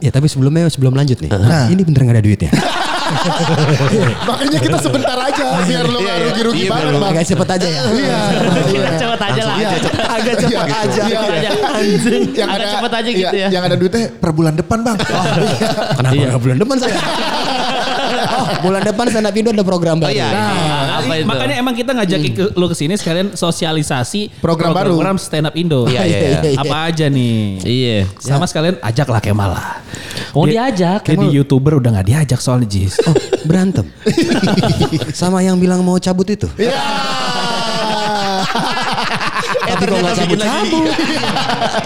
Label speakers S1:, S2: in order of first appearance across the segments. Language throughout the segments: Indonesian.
S1: Ya tapi sebelumnya sebelum lanjut nih. Nah, ini bener gak ada duitnya.
S2: Makanya kita sebentar aja biar lo nggak
S3: Iya, iya.
S2: rugi-rugi
S3: Iya,
S2: banget.
S3: biar lo
S2: Bang.
S1: Agak cepet aja ya.
S2: Iya.
S4: Kita cepet aja lah.
S2: Iya.
S3: Agak
S2: Iya,
S3: cepat
S2: gitu.
S3: aja.
S2: Iya.
S4: Cepet aja. Anjing.
S2: Yang
S4: Agak
S2: ada-
S4: cepet aja
S2: iya,
S4: gitu ya.
S2: Yang ada duitnya per bulan depan bang.
S1: Kenapa
S3: Iya.
S1: nggak bulan depan saya? oh, bulan depan stand up Indo ada program
S3: Oh
S1: baru.
S3: iya.
S4: Nah,
S3: Apa itu?
S4: makanya emang kita
S5: Hmm.
S4: ngajak ke- lu ke sini sekalian sosialisasi
S2: Program baru.
S4: program stand up Indo.
S3: Iya, iya, iya.
S4: Apa aja nih?
S3: Iya.
S4: Sama sekalian ajaklah Kemal lah.
S1: Oh, diajak,
S4: Dia
S1: Kemal.
S4: di YouTuber udah nggak diajak soalnya Jis.
S1: Oh, berantem. Sama yang bilang mau cabut itu.
S2: Iya.
S1: Tapi kok nggak
S3: bikin Iya, lagi. Iya,
S1: cabut-cabut.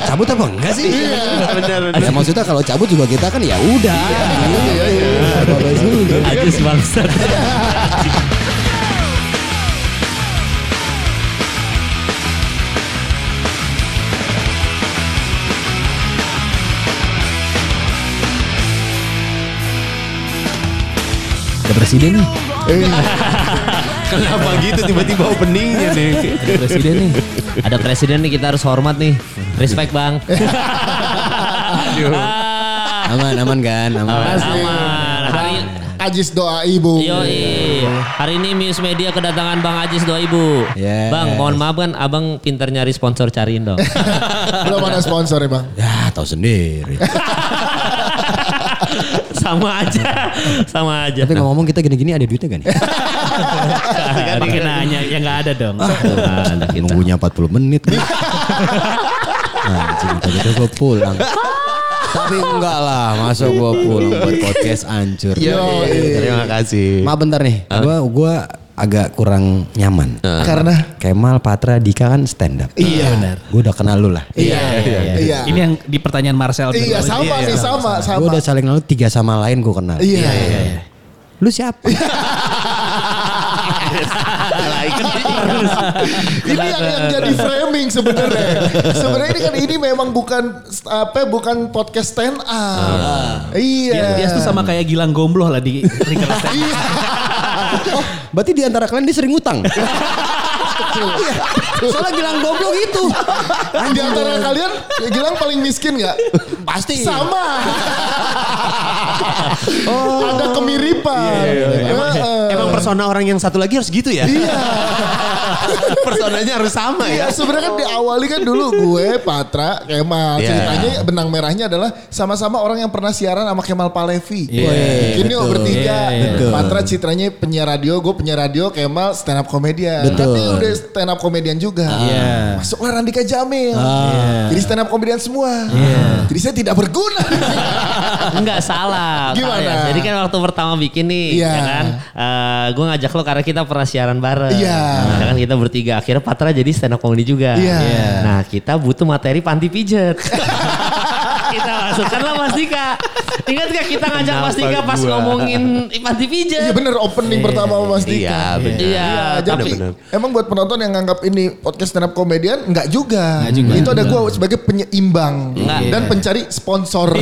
S1: cabut apa enggak sih?
S3: Benar. Iya,
S1: Ya maksudnya kalau cabut juga kita kan ya udah.
S3: Ajis bangsat.
S4: Ada presiden nih.
S2: Iya.
S3: Kenapa gitu tiba-tiba openingnya nih?
S4: Ada presiden nih.
S5: Ada presiden nih kita harus hormat nih. Respect bang.
S1: Aman, aman kan? Aman.
S5: Aman. Hari
S2: Ajis doa ibu.
S4: Iya,
S5: Yoi. Iya, Hari ini Muse Media kedatangan Bang Ajis 2000.
S1: Yes.
S5: Bang, mohon maaf kan abang pinter nyari sponsor cariin dong.
S2: Belum ada sponsor ya bang.
S1: Ya, tahu sendiri.
S5: sama aja. Sama aja.
S1: Tapi ngomong kita gini-gini ada duitnya gak nih?
S4: Pakai nanya ya nggak ada dong.
S1: Anak Nah, nunggunya 40 menit nih. Anjing, tapi itu gue pulang. Tapi enggak lah, masa gue pulang buat podcast hancur.
S2: Yo,
S3: iya, Terima
S1: Oh,
S3: kasih.
S1: iya. Maaf bentar nih, gue gua agak kurang nyaman.
S2: Karena
S1: Kemal, Patra, Dika kan stand up.
S2: Iya.
S1: benar. Gue udah kenal lu lah.
S2: iya iya
S4: Ini yang di pertanyaan Marcel.
S2: iya
S4: dulu.
S2: sama sih sama
S1: Gue
S2: sama.
S1: udah saling kenal lu, tiga sama lain gue kenal.
S2: Iya iya.
S1: Lu siapa?
S2: Ini yang, yang jadi framing sebenarnya. Sebenarnya ini kan ini memang bukan apa bukan podcast stand up.
S4: Dia,
S2: Iya.
S4: dia tuh sama kayak Gilang Gombloh lah di Ringkel Stand.
S2: Iya.
S1: oh, berarti di antara kalian dia sering utang. Iya. Soalnya bilang goblok gitu.
S2: Di antara kalian ya Gilang paling miskin nggak?
S1: Pasti.
S2: Sama.
S4: Oh.
S2: Ada kemiripan.
S4: Iya,
S2: Heeh.
S3: Emang persona orang yang satu lagi harus gitu ya?
S2: Iya.
S3: Personanya harus sama
S2: Ya
S3: ya.
S2: sebenarnya kan diawali kan dulu gue Patra Kemal
S3: Iya.
S2: ceritanya benang merahnya adalah sama-sama orang yang pernah siaran sama Kemal Palevi.
S4: Iya,
S2: Ini
S1: betul.
S2: bertiga.
S4: Iya, iya.
S1: Betul.
S2: Patra citranya penyiar radio, gue penyiar radio, Kemal stand up komedian.
S1: Betul.
S2: Tapi udah stand up komedian juga.
S4: Iya.
S2: Masuklah Randika Jamil.
S4: Ah. Iya.
S2: Jadi stand up komedian semua. Jadi saya tidak berguna.
S5: Enggak salah.
S2: Gimana?
S5: Salah ya. Jadi kan waktu pertama bikin nih,
S2: Iya.
S5: ya kan? gue ngajak lo karena kita pernah siaran bareng.
S2: Iya.
S5: Ya kan kita bertiga. Akhirnya Patra jadi stand up comedy juga.
S2: Iya.
S5: Nah kita butuh materi panti pijet. kita masukkanlah Mas Dika. Ingat gak kita ngajak Mas Dika pas ngomongin panti pijet?
S2: Iya bener opening pertama sama
S3: iya,
S2: Mas Dika.
S3: benar.
S5: Iya,
S2: Jadi
S3: benar.
S2: emang buat penonton yang nganggap ini podcast stand up komedian enggak juga.
S4: Nggak juga.
S2: Itu ada gue sebagai penyeimbang
S5: Nggak.
S2: dan pencari sponsor.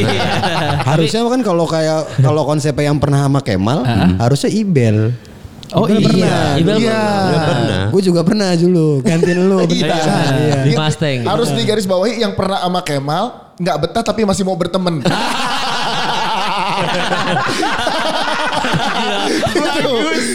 S1: harusnya kan kalau kayak kalau konsepnya yang pernah sama Kemal, harusnya Ibel.
S4: Oh
S1: Ibel
S4: iya.
S1: pernah.
S5: Ibel
S2: Iya.
S1: Gue juga pernah dulu gantiin lu. bentar.
S2: Iya.
S1: Iya.
S5: Di Mustang.
S4: gitu.
S2: Harus digaris bawahi yang pernah sama Kemal nggak betah tapi masih mau berteman. Gitu. Itu.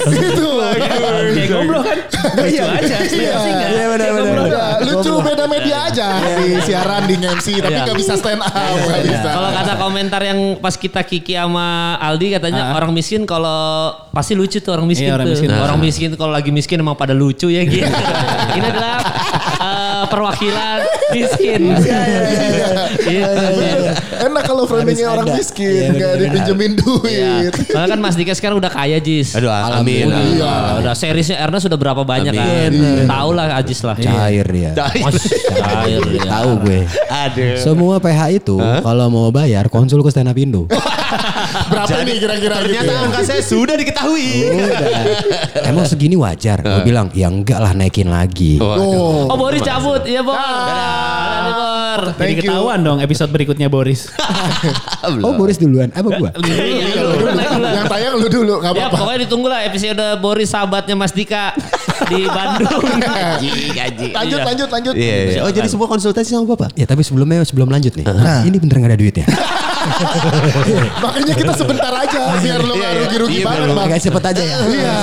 S2: Itu.
S4: Kayak Gombloh kan. Lucu aja.
S1: Iya benar-benar.
S2: Udah, Lucu beda media aja di siaran di MC tapi
S5: Iya.
S2: nggak bisa stand up. nggak bisa.
S5: Kalau kata komentar yang pas kita Kiki sama Aldi katanya orang miskin kalau pasti lucu tuh orang miskin
S4: Iya, orang
S5: tuh.
S4: miskin.
S5: Orang miskin kalau lagi miskin emang pada lucu ya gitu. Ini adalah eh, perwakilan miskin.
S2: iya,
S5: Iya, Gitu.
S2: Enak kalau framingnya
S1: Harus
S2: orang
S1: ada. Iya,
S2: miskin, nggak
S1: benar-benar.
S2: dipinjemin duit.
S5: Soalnya kan Mas Dika sekarang udah kaya Jis.
S3: Aduh, amin.
S5: Udah,
S3: amin.
S5: udah seriesnya Ernest sudah berapa banyak kan. Tahu lah Ajis lah. Iya.
S1: Cair dia.
S5: Mas, cair dia.
S1: Tahu gue.
S3: Aduh. Oh,
S1: Semua PH itu kalau mau bayar konsul ke Stand Up Indo.
S2: Berapa
S3: Jadi,
S2: nih kira-kira gitu
S3: Ternyata
S2: ya?
S3: angka saya sudah diketahui.
S1: Udah. Emang segini wajar? Gue bilang ya enggak lah naikin lagi.
S3: Waduh.
S5: Oh Boris cabut, iya Bor. Dadah, nih, Bor.
S4: Jadi
S2: Thank you.
S4: ketahuan dong episode berikutnya Boris.
S1: Oh Boris duluan, apa gua?
S5: Iya, lu, lu naik dulu.
S2: Yang tayang lu dulu nggak
S3: Iya,
S5: Ya
S2: apa-apa.
S5: pokoknya ditunggu lah episode Boris sahabatnya Mas Dika di Bandung.
S2: Lanjut lanjut lanjut.
S3: Iya, iya. Oh jadi semua konsultasi sama Bapak?
S1: Ya tapi sebelumnya sebelum lanjut nih. Ini bener gak ada duitnya?
S2: Makanya kita
S5: Iya.
S2: sebentar aja biar lu nggak
S3: Iya, iya.
S2: rugi-rugi
S3: Iya,
S2: banget
S3: bener.
S2: bang.
S1: Agak cepet aja ya.
S2: Iya.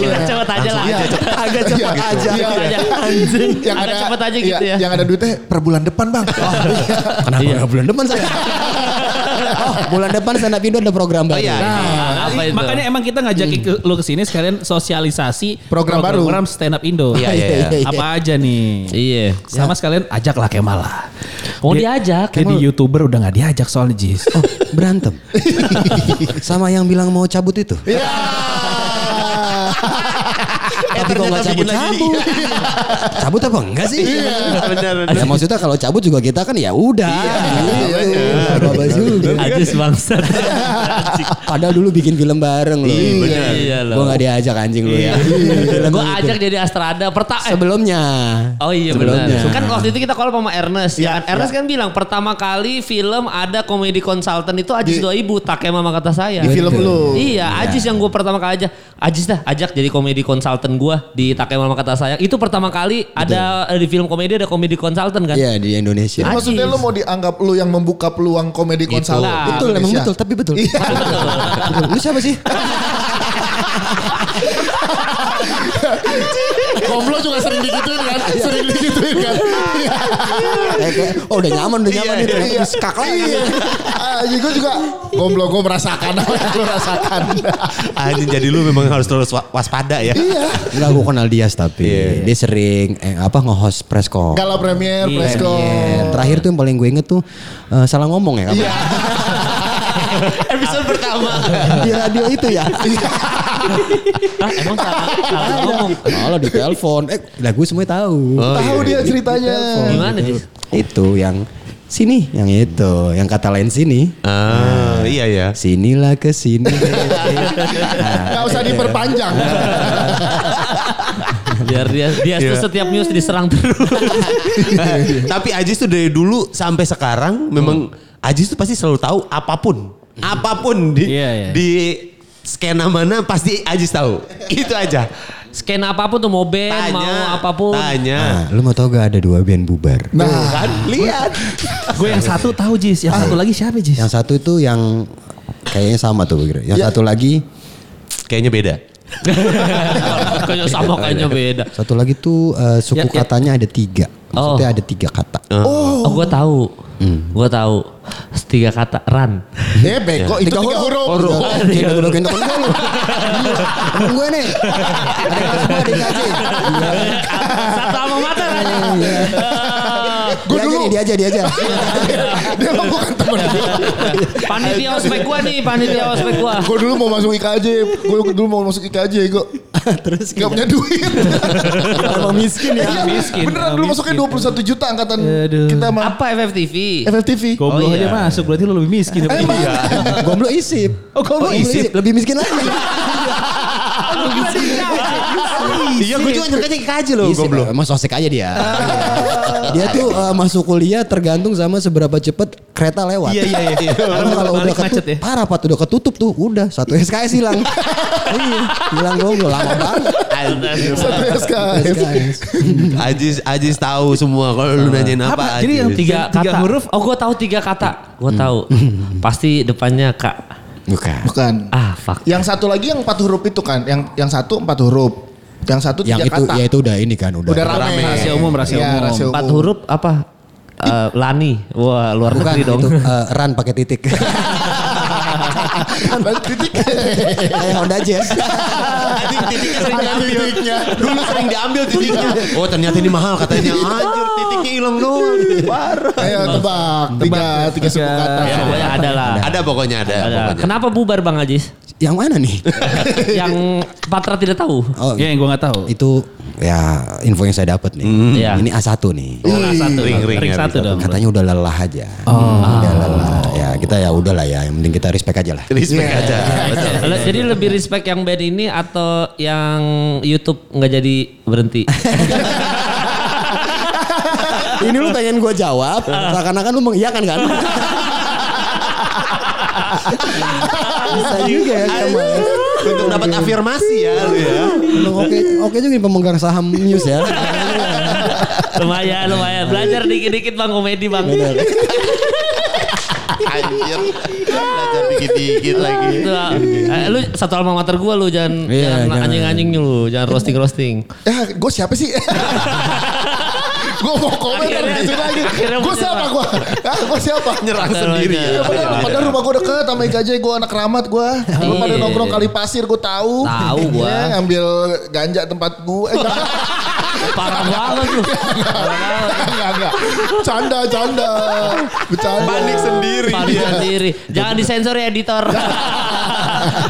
S5: Kita cepet aja lah.
S1: Agak
S2: Iya,
S1: cepet aja.
S2: iya.
S5: Cepet aja.
S2: Yang
S5: Agak
S2: ada-
S5: cepet aja
S2: iya,
S5: gitu ya.
S2: Yang ada duitnya per bulan depan bang.
S1: Kenapa
S3: Iya.
S1: nggak bulan depan saya? oh, bulan depan stand up Indo ada program baru.
S3: iya.
S5: Apa itu?
S4: Makanya emang kita ngajak ke- lu ke sini sekalian sosialisasi
S2: Program baru.
S4: program stand up Indo.
S3: Iya, iya, iya.
S4: Apa aja nih?
S5: Iya.
S4: Sama sekalian ajaklah Kemal lah.
S5: Oh, diajak,
S4: Jadi
S5: Kemal.
S4: youtuber udah nggak diajak soalnya Jis.
S1: Oh, berantem. Sama yang bilang mau cabut itu.
S2: Iya.
S1: tapi kok nggak
S3: bikin lagi. Iya.
S1: cabut-cabut? cabut apa enggak sih?
S3: Benar, benar.
S1: Ya maksudnya kalau cabut juga kita kan ya udah.
S3: Iya,
S1: Gitu. Apa-apa juga.
S5: Ajis bangsa.
S1: Padahal dulu bikin film bareng loh.
S3: bener. Iya.
S5: Iya loh.
S1: Gue gak diajak anjing lu ya. Film
S5: Gue
S2: gitu.
S1: itu.
S5: ajak jadi Astrada. Perta eh,
S1: Sebelumnya.
S5: Oh iya benar.
S1: Sebelumnya.
S5: Kan waktu itu kita call sama Ernest.
S2: Iya,
S5: ya kan? Ernest kan bilang pertama kali film ada komedi konsultan itu Ajis
S2: Di-
S5: 2000 Takema sama kata saya.
S2: Di film
S1: Betul.
S2: lu.
S5: Iya, Ajis yang gue pertama kali aja. Ajis dah ajak jadi komedi konsultan gue di Takema sama kata saya. Itu pertama kali ada eh, di film komedi ada komedi konsultan kan?
S1: Iya di Indonesia.
S2: Jadi maksudnya lu mau dianggap lu yang membuka peluang komedi
S1: Gitu.
S2: konsultan.
S5: lah.
S2: di
S1: Betul emang
S2: Indonesia?
S1: betul tapi betul.
S2: Iya.
S1: Betul. Lu siapa sih?
S2: Komplo juga sering digituin kan. Sering digituin kan. Iya.
S1: Kayak- kayak, oh udah nyaman udah nyaman nih ternyata
S2: Iya.
S1: disekak ya. lagi.
S2: Iya. Ah, Jadi gue juga gomblo gue merasakan apa yang lu rasakan.
S3: Anjing jadi lu memang harus terus wa- waspada ya.
S2: Iya.
S1: Enggak gue kenal Dias tapi dia sering eh, apa nge-host press con.
S2: Gala premier, presko.
S1: Iya, Premier. Terakhir tuh yang paling gue inget tuh eh, salah ngomong ya.
S2: Iya.
S1: kapan?
S5: Episode pertama.
S1: Di radio itu ya.
S5: Ah, emang salah, salah ngomong.
S1: Malah di telepon. Eh, lah gue semua tahu.
S2: Tahu dia
S1: iya.
S2: ceritanya.
S5: Gimana sih?
S1: Itu yang sini, yang itu, yang kata lain sini.
S3: Ah, iya ya.
S1: Sinilah ke sini.
S2: Gak
S1: Iya.
S2: usah diperpanjang.
S5: Biar dia dia tuh
S3: Iya.
S5: setiap news diserang terus.
S3: Tapi Ajis tuh dari dulu sampai sekarang memang Ajis tuh pasti selalu tahu apapun. Apapun di
S4: Iya, iya.
S3: di skena mana pasti Ajis tahu. Itu aja.
S5: Scan apapun tuh
S4: Eh,
S5: mau band,
S3: Tanya,
S5: mau apapun.
S3: Tanya.
S4: Ah.
S1: Nah, lu mau tau gak ada dua band bubar?
S2: Nah,
S3: Kan lihat.
S4: gue yang satu tahu Jis, yang satu lagi siapa Jis?
S1: Yang satu itu yang kayaknya sama tuh gue kira. Yang
S2: Ya.
S1: satu lagi,
S3: Kayaknya beda.
S5: kayaknya sama kayaknya beda.
S1: satu lagi tuh eh, suku
S5: Ya, ya.
S1: katanya ada tiga. Maksudnya ada tiga kata.
S5: Oh, gue tahu. Gue tahu. Tiga kata run.
S2: eh bego itu tiga huruf.
S1: Kayak dulu gendong gue lu. Gila, Temen gue nih. Ada kelas gue ada aja.
S5: Satu sama mata kan?
S2: Gua
S1: Iya. Dia aja
S2: dulu.
S1: nih, dia aja, dia aja.
S2: Dia emang bukan temen gue.
S5: Panitia ospek gue nih, panitia ospek gue.
S2: Gue dulu mau masuk IKJ. Gue dulu mau masuk IKJ gue. Terus gak punya duit.
S1: Emang miskin ya.
S2: Iya,
S4: miskin,
S2: Beneran
S4: orang
S2: dulu
S4: miskin.
S2: masuknya 21 juta angkatan kita sama
S5: Apa FFTV?
S2: FFTV.
S4: Goblok
S5: Oh, iya.
S4: aja masuk berarti lu lebih miskin.
S1: Eh,
S4: daripada
S2: Emang.
S4: dia.
S1: Gomblo Iya. isip.
S4: Oh, gomblo isip.
S1: Lebih miskin lagi.
S3: Iya, gue juga nyangkanya KKJ loh,
S1: Isip,
S3: goblok.
S1: Emang sosek aja dia. Iya. dia tuh eh, masuk kuliah tergantung sama seberapa cepet kereta lewat.
S4: Iya, iya, iya.
S1: Karena kalau udah
S4: Balik
S1: ketutup,
S4: macet ya.
S1: parah pat udah ketutup tuh, udah satu SKS hilang. iya, hilang gomblo lama banget.
S2: Satu SKS.
S1: SKS.
S3: Ajis Ajis tahu semua kalau lu nanyain apa.
S4: Apa? Jadi yang
S3: Ajis.
S4: tiga,
S5: Tiga
S4: tiga huruf.
S5: Oh, gue tahu tiga kata. Gue tahu. Pasti depannya kak.
S1: Bukan.
S2: Bukan.
S5: Ah, fuck.
S2: Yang satu lagi yang empat huruf itu kan. Yang yang satu empat huruf. Yang satu
S1: Yang
S2: tiga
S1: itu
S2: kata.
S1: ya itu udah ini kan udah.
S2: Udah rame.
S3: rame.
S4: Rahasia umum, rahasia
S2: Iya,
S4: umum.
S2: rahasia
S5: Empat huruf apa? Eh, Lani. Wah, luar
S1: Bukan
S5: negeri dong.
S1: itu eh, run pakai titik.
S2: Empat titik.
S1: Kayak Honda Jazz.
S3: Anjing, titiknya sering
S2: Ada
S3: diambil.
S2: titiknya.
S3: Dulu sering diambil titiknya. Oh ternyata ini mahal katanya. Anjir titiknya hilang doang. Parah.
S2: Ayo tebak. Tiga, tiga suku
S4: Tiga.
S2: kata.
S5: Ya, pokoknya ada lah.
S3: Ada pokoknya ada.
S5: Ada.
S3: pokoknya.
S5: Kenapa bubar Bang Ajis?
S1: Yang mana nih?
S5: Yang Patra tidak tahu.
S1: Oh,
S4: Ya yang gue nggak tahu.
S1: itu ya info yang saya dapat nih.
S5: Iya.
S1: Ini A1 nih.
S5: Oh.
S4: Ring satu,
S3: Ring, ring, ya.
S4: ring, ring
S3: ring
S4: satu dong.
S1: Katanya udah lelah aja. Udah lelah ya kita ya udahlah ya. Yang penting kita respect aja lah.
S3: Respect aja. Betul.
S5: Le- Jadi lebih respect yang band ini atau yang YouTube nggak jadi berhenti?
S1: Ini lu pengen gue jawab, seakan-akan lu mengiyakan kan? Bisa juga ya sama.
S3: Untuk dapat afirmasi ya lu ya.
S1: Emang Oke, oke juga nih pemegang saham news ya.
S5: lumayan, lumayan. Belajar dikit-dikit bang komedi bang.
S3: Anjir. Belajar dikit-dikit lagi.
S5: Itu, eh, lu satu alma mater gua lu jangan
S1: Iya,
S5: jangan
S1: jangan.
S5: anjing-anjing lu, jangan roasting-roasting.
S2: Ya, gue siapa sih? gue mau komen
S5: Akhirnya-
S2: tapi disuruh lagi.
S5: akhirnya
S2: Gue siapa
S5: menyerah.
S2: gue? gue siapa?
S3: Nyerang
S5: Betul,
S3: sendiri ya.
S5: betul.
S2: Iya, Padahal, padahal rumah gue deket sama Ijajah gue anak ramat gue. Lu pada
S5: Iya, Iya.
S2: nongkrong kali pasir gue tahu.
S5: Tahu gua.
S2: Ya, ngambil ganja tempat gue. Eh, jangan.
S5: Parah banget lu.
S2: enggak, Iya, enggak. Canda, canda. Bercanda.
S3: Panik sendiri
S5: Paling
S3: dia.
S5: sendiri. Jangan disensor ya editor.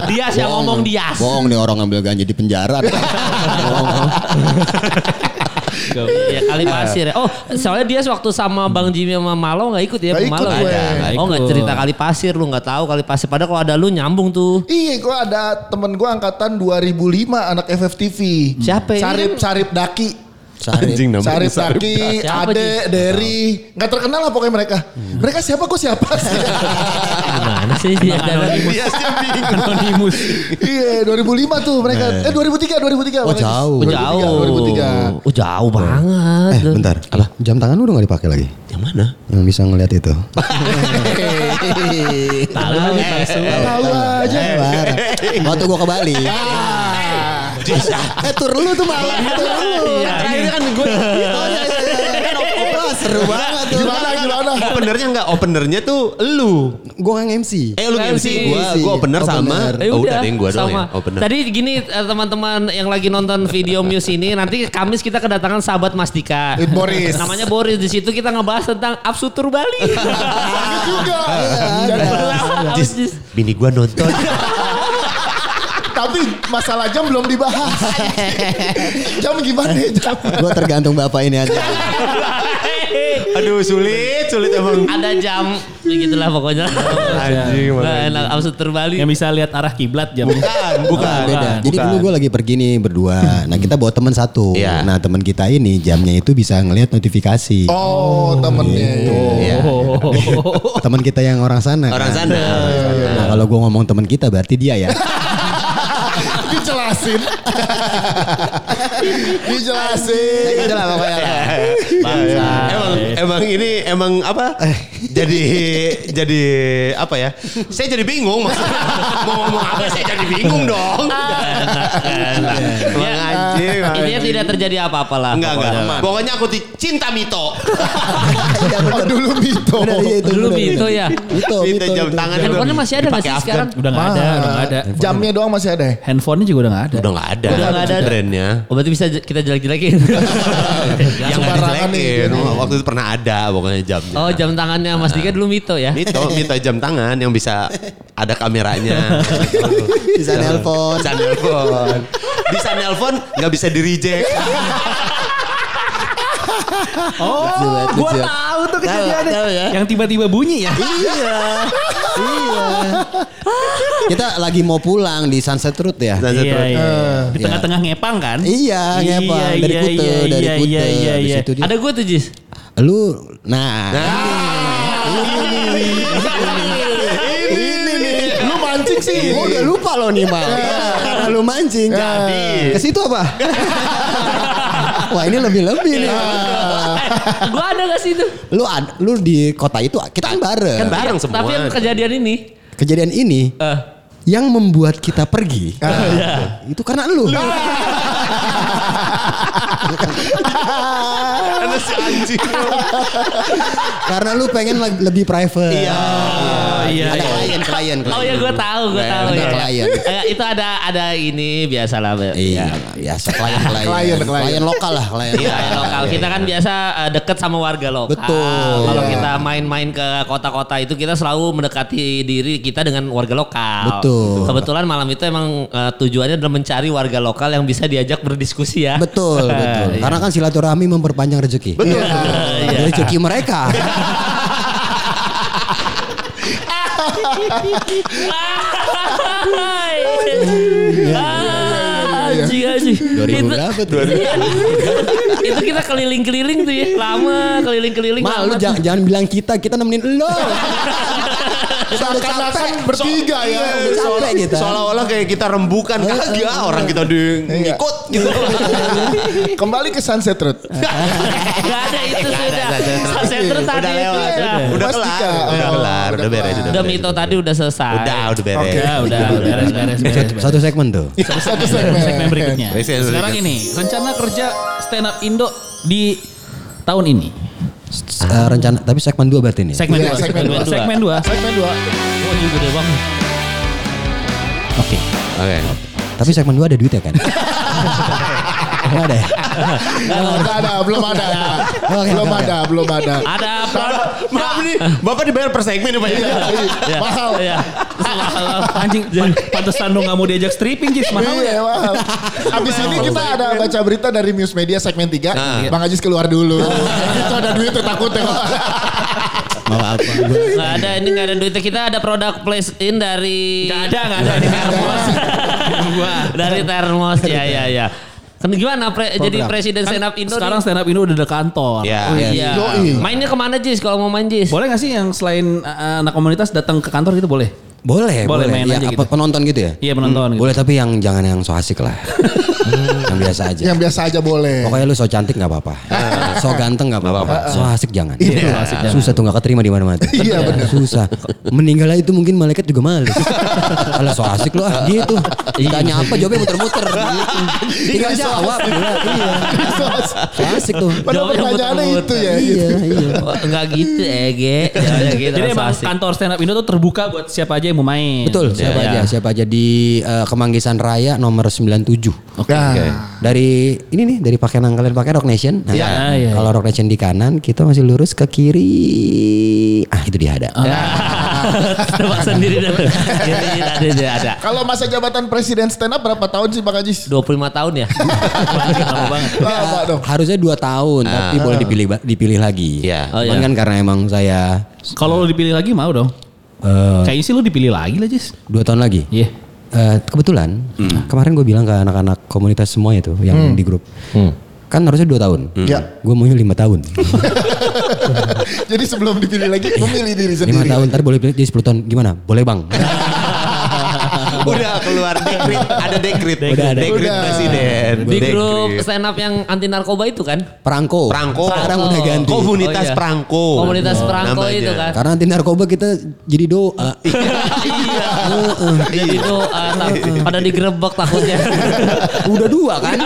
S5: Dias yang ngomong Dias.
S1: Bohong nih orang ngambil ganja di penjara.
S5: Ya kali pasir. ya. Oh, soalnya dia waktu sama Bang Jimmy sama Malo nggak ikut ya
S2: Nggak
S5: pemalau.
S2: ikut gue.
S5: ya?
S4: Nggak
S5: Oh nggak
S4: ikut.
S5: cerita kali pasir lu nggak tahu kali pasir. Padahal kalau ada lu nyambung tuh.
S2: Iya, gue ada temen gue angkatan 2005 anak FFTV.
S5: Siapa ini?
S2: Sarip, Sarip Daki.
S3: Anjing namanya
S2: Sarip
S3: Sarip
S2: Daki,
S5: Siapa,
S2: Ade, Derry, nggak terkenal lah pokoknya mereka. Mereka siapa kok siapa sih?
S5: Gimana sih dia ada
S3: Dia siap bingung.
S4: Anonymous.
S2: Iya, 2005 tuh mereka. Eh 2003, 2003.
S1: Oh
S2: mereka.
S1: jauh.
S5: Iya, jauh.
S2: 2003.
S5: Oh, jauh banget.
S1: Eh bentar, apa? Jam tangan lu udah gak dipakai lagi?
S3: Yang mana?
S1: Yang bisa ngeliat itu. Eh,
S5: Tahu lu palsu.
S2: Tahu aja.
S1: Parah. Waktu gua ke Bali. Eh tur lu tuh malah. Tur lu.
S5: Iya, ini kan gue.
S1: Oh, iya, iya, iya. Wah, seru banget tuh.
S2: Gimana, gimana?
S3: Openernya enggak, openernya tuh lu.
S1: Gue nggak MC.
S3: Eh lu
S5: Nggak
S3: MC,
S5: MC.
S3: gua gua opener sama.
S1: Opener.
S5: Ya
S3: Oh, udah ada yang gua doang ya,
S5: sama.
S3: opener.
S5: Tadi gini eh, teman-teman yang lagi nonton video Muse ini nanti Kamis kita kedatangan sahabat Mas Dika.
S2: Eh, Boris.
S5: Namanya Boris di situ kita ngebahas tentang Absutur Bali.
S2: Ada juga.
S1: Iya,
S2: Jadi,
S3: Jis, bini gua nonton.
S2: tapi masalah jam belum dibahas. jam gimana ya, jam?
S1: Gue tergantung bapak ini aja.
S3: Aduh sulit, sulit emang.
S5: Ada jam begitulah pokoknya.
S3: Anjing,
S5: Nah,
S3: makanya.
S5: enak Absutur Bali.
S4: Yang bisa lihat arah kiblat jam.
S3: Bukan, bukan.
S1: Beda. Jadi
S3: Bukan.
S1: dulu gue lagi pergi nih berdua. Nah kita bawa teman satu.
S3: Iya.
S1: Nah teman kita ini jamnya itu bisa ngelihat notifikasi.
S2: Oh,
S1: Gitu.
S2: temennya. Oh.
S3: Iya.
S4: Oh,
S1: Teman kita yang orang sana.
S3: Orang
S1: kan?
S3: sana.
S1: Nah kalau gue ngomong teman kita berarti dia ya.
S2: Dijelasin. Dijelasin.
S1: Gitu lah pokoknya lah.
S3: Emang emang ini emang apa? Jadi jadi apa ya? Saya jadi bingung maksudnya. Mau ngomong apa saya jadi bingung dong. Emang anjing. emang
S5: Ya, Iya. Ini
S3: anjing.
S5: tidak terjadi apa-apa lah.
S3: Enggak, enggak.
S5: pokoknya.
S3: Pokoknya aku ti- cinta Mito.
S2: Oh, dulu Mito.
S1: Bener, iya, itu
S5: Dulu
S1: bener.
S5: Mito ya.
S1: Mito,
S3: Mito jam
S1: Mito.
S3: tangan.
S5: Handphonenya masih ada nggak
S3: Dipakai
S5: sih
S3: Afgan.
S5: sekarang?
S4: Udah nggak ada, udah nggak ada.
S2: Ah. Jamnya doang masih ada ya?
S4: Handphonenya juga udah nggak ada.
S3: Udah enggak ada.
S5: Udah nggak ada.
S3: trennya.
S5: Oh, berarti bisa j- kita jelek-jelekin.
S3: Yang
S5: Yang-
S3: enggak
S2: sembarangan nih,
S3: dijelekin.
S2: gini.
S3: Waktu itu pernah ada pokoknya jamnya.
S5: oh, jam tangannya Mas Dika dulu Mito ya.
S3: Mito, Mito jam tangan yang bisa ada kameranya.
S1: Bisa nelpon.
S3: Bisa nelpon. Bisa nelpon, nggak bisa di reject.
S1: Oh,
S4: Gua tahu tuh kejadiannya.
S1: Tahu, tahu ya.
S4: Yang tiba-tiba bunyi ya.
S1: Iya. Iya. Kita lagi mau pulang di Sunset Road ya.
S3: Dan
S4: Iya,
S3: seterusnya.
S4: iya. Di tengah-tengah ngepang kan?
S1: Eh, Iya, ngepang. Dari
S4: iya,
S1: Kute,
S4: iya,
S1: dari
S4: iya,
S1: Kute.
S4: Iya, iya,
S1: Habis
S4: iya.
S1: itu dia-
S5: Ada gue tuh Jis.
S1: Lu nah,
S2: Ini nih. Lu mancing sih.
S1: Gua udah lupa loh nih, Bang. Karena lu mancing. Iya. Jadi. Ke situ apa? Iya. Wah, ini lebih-lebih nih.
S5: gue ada gak sih itu?
S1: Lu ad- lu di kota itu kita kan bareng.
S3: Kan bareng semua.
S5: Tapi yang kejadian ini.
S1: Kejadian ini
S5: eh,
S1: yang membuat kita pergi Ah. itu karena lu.
S3: Karena si anjing.
S1: Karena lu pengen lag- lebih private.
S3: Iya.
S4: Iya,
S1: Ah, Ada
S4: iya.
S1: klien, klien, klien.
S5: oh ya gue tahu, gue
S3: Nah,
S5: tahu
S1: Ada
S5: ya.
S1: klien.
S5: Eh, itu ada ada ini biasalah. Be.
S1: Iya, biasa klien, klien.
S2: Klien, klien.
S1: Klien lokal lah, klien.
S5: Iya, lokal. Kita kan biasa eh, deket sama warga lokal.
S1: Betul.
S5: Kalau
S1: Iya.
S5: kita main-main ke kota-kota itu kita selalu mendekati diri kita dengan warga lokal.
S1: Betul.
S5: Kebetulan malam itu emang eh, tujuannya adalah mencari warga lokal yang bisa diajak berdiskusi ya.
S1: Betul, betul. Karena kan silaturahmi memperpanjang rezeki. Iya. Betul. Rezeki mereka.
S5: Ah, Anjing anjing.
S1: 2000
S5: Itu
S1: berapa tuh?
S5: itu kita keliling-keliling tuh ya. Lama keliling-keliling.
S1: Mal, lu
S5: lama.
S1: jangan, jangan bilang kita, kita nemenin lo. Udah capek,
S2: Seakan-akan bertiga ya.
S1: udah capek kita.
S3: Seolah-olah kayak Iya, kita Iya. rembukan kagak orang kita di ngikut gitu.
S2: Kembali ke Sunset Road.
S5: Gak ada itu sudah. Sunset
S2: Udah
S5: Road tadi
S3: Udah
S5: itu
S3: lewat,
S5: udah.
S3: udah, udah
S2: Mas Dika.
S3: kelar, udah
S2: Oh,
S3: kelar,
S2: udah
S3: udah beres,
S2: kelar.
S5: Udah
S3: beres.
S5: mito tadi udah selesai.
S3: Udah, udah beres.
S2: Oke.
S4: Ya udah, beres, beres, beres, beres.
S1: Satu segmen tuh.
S2: Satu
S4: Segmen
S2: segmen.
S4: berikutnya.
S3: Beres, beres,
S4: Sekarang
S3: beres.
S4: ini rencana kerja stand up Indo di tahun ini.
S1: S- eh, rencana, tapi segmen 2 berarti ini.
S4: Segmen
S2: Iya,
S4: 2.
S2: segmen dua.
S4: Segmen 2.
S2: Segmen dua.
S4: Waduh gede banget. Oke.
S3: Oke.
S1: Tapi segmen 2 ada duitnya kan? Enggak ada ya?
S2: Nggak ada, belum ada.
S1: Oke,
S2: Belum
S1: oke, oke.
S2: ada, belum ada.
S5: Ada apa?
S3: Maaf Iya. nih, Bapak dibayar per segmen nih Pak.
S5: Ya.
S2: Iya, Mahal.
S4: Iya,
S5: Ya.
S4: Anjing, pantesan lu gak mau diajak stripping, Jis. Mahal lu ya.
S2: Iya, mahal. Abis ini kita ada baca berita dari Muse Media segmen 3.
S3: Nah.
S2: Bang Ajis keluar dulu. Itu ada duit tuh takutnya.
S1: Mau apa?
S5: Gak ada ini gak ada duitnya kita ada produk place in dari
S4: Gak ada, gak ada. Ini termos. Gua.
S5: dari termos ya ya ya. Kan Gimana pre- jadi
S1: Program.
S5: presiden
S4: Kan
S5: stand up Indo?
S4: Sekarang
S5: nih?
S4: stand up Indo udah ada kantor.
S3: Iya.
S5: Oh, iya.
S2: Yoi.
S5: Mainnya kemana Jis kalau mau main Jis?
S4: Boleh gak sih yang selain uh, anak komunitas datang ke kantor gitu boleh?
S1: Boleh, boleh.
S4: Boleh, main
S1: Ya,
S4: aja
S1: apa,
S4: gitu.
S1: Penonton gitu ya?
S4: Iya penonton gitu.
S1: Boleh tapi yang jangan yang so asik lah. yang biasa aja.
S2: Yang biasa aja boleh.
S1: Pokoknya lu so cantik gak apa-apa. so ganteng gak apa-apa. So asik jangan.
S2: Iya.
S1: Susah tuh gak keterima di mana-mana. tuh.
S2: Iya, bener.
S1: Susah. Meninggal aja itu mungkin malaikat juga males. Alah so asik lu ah
S2: Iya.
S1: gitu.
S4: Iya.
S1: Ditanya apa jawabnya muter-muter. Tinggal
S2: Jadi so
S1: jawab.
S2: asik.
S1: gila. Iya. So asik tuh.
S2: Padahal
S5: Jawabnya
S2: pertanyaannya itu ya.
S1: Iya, iya.
S5: Oh, Enggak gitu Ege. Jawabnya gitu.
S4: Jadi emang kan-
S5: asik.
S4: kantor stand up Indo tuh terbuka buat siapa aja yang mau main. Iya,
S1: Betul, siapa
S4: ya.
S1: aja, siapa aja di eh, Kemanggisan Raya nomor 97.
S2: Nah,
S1: dari ini nih dari pakaian yang kalian pakai Rock Nation. Nah,
S4: Iya, iya,
S1: Kalau Rock Nation di kanan, kita masih lurus ke kiri. Ah, itu dia ada.
S5: Tebak sendiri dah. Jadi ada ada ada.
S2: Kalau masa jabatan presiden stand up berapa tahun sih Bang Ajis?
S5: 25 tahun ya. Lama banget.
S2: Lama dong.
S1: Harusnya dua tahun, tapi boleh dipilih dipilih lagi.
S3: Iya.
S5: Oh,
S1: Cuman
S5: iya.
S1: kan karena emang saya
S4: Kalau lo dipilih lagi mau dong.
S1: eh,
S4: Kayaknya sih lo dipilih lagi lah Jis.
S1: dua tahun lagi.
S4: Iya.
S1: Eh, kebetulan kemarin gue bilang ke anak-anak komunitas semua itu
S4: Hmm.
S1: yang di grup, kan harusnya dua tahun.
S2: Ya.
S4: Iya.
S1: Gue maunya lima tahun.
S2: Jadi sebelum dipilih lagi memilih diri
S1: lima
S2: sendiri.
S1: tahun, ntar boleh pilih jadi sepuluh tahun. Gimana? Boleh bang.
S3: Udah keluar dekrit, ada dekrit.
S1: Udah ada.
S3: Dekrit
S2: Udah.
S3: presiden.
S5: Di grup
S3: Dekrit.
S5: stand up yang anti narkoba itu kan?
S1: Perangko.
S3: Perangko.
S1: Sekarang udah ganti.
S3: Komunitas Nah,
S5: Oh, iya.
S3: perangko.
S5: Komunitas perangko
S3: namanya.
S5: itu kan.
S1: Karena anti narkoba kita jadi doa.
S5: Iya. Jadi itu uh, tak- pada digerebek takutnya.
S1: Udah dua kan?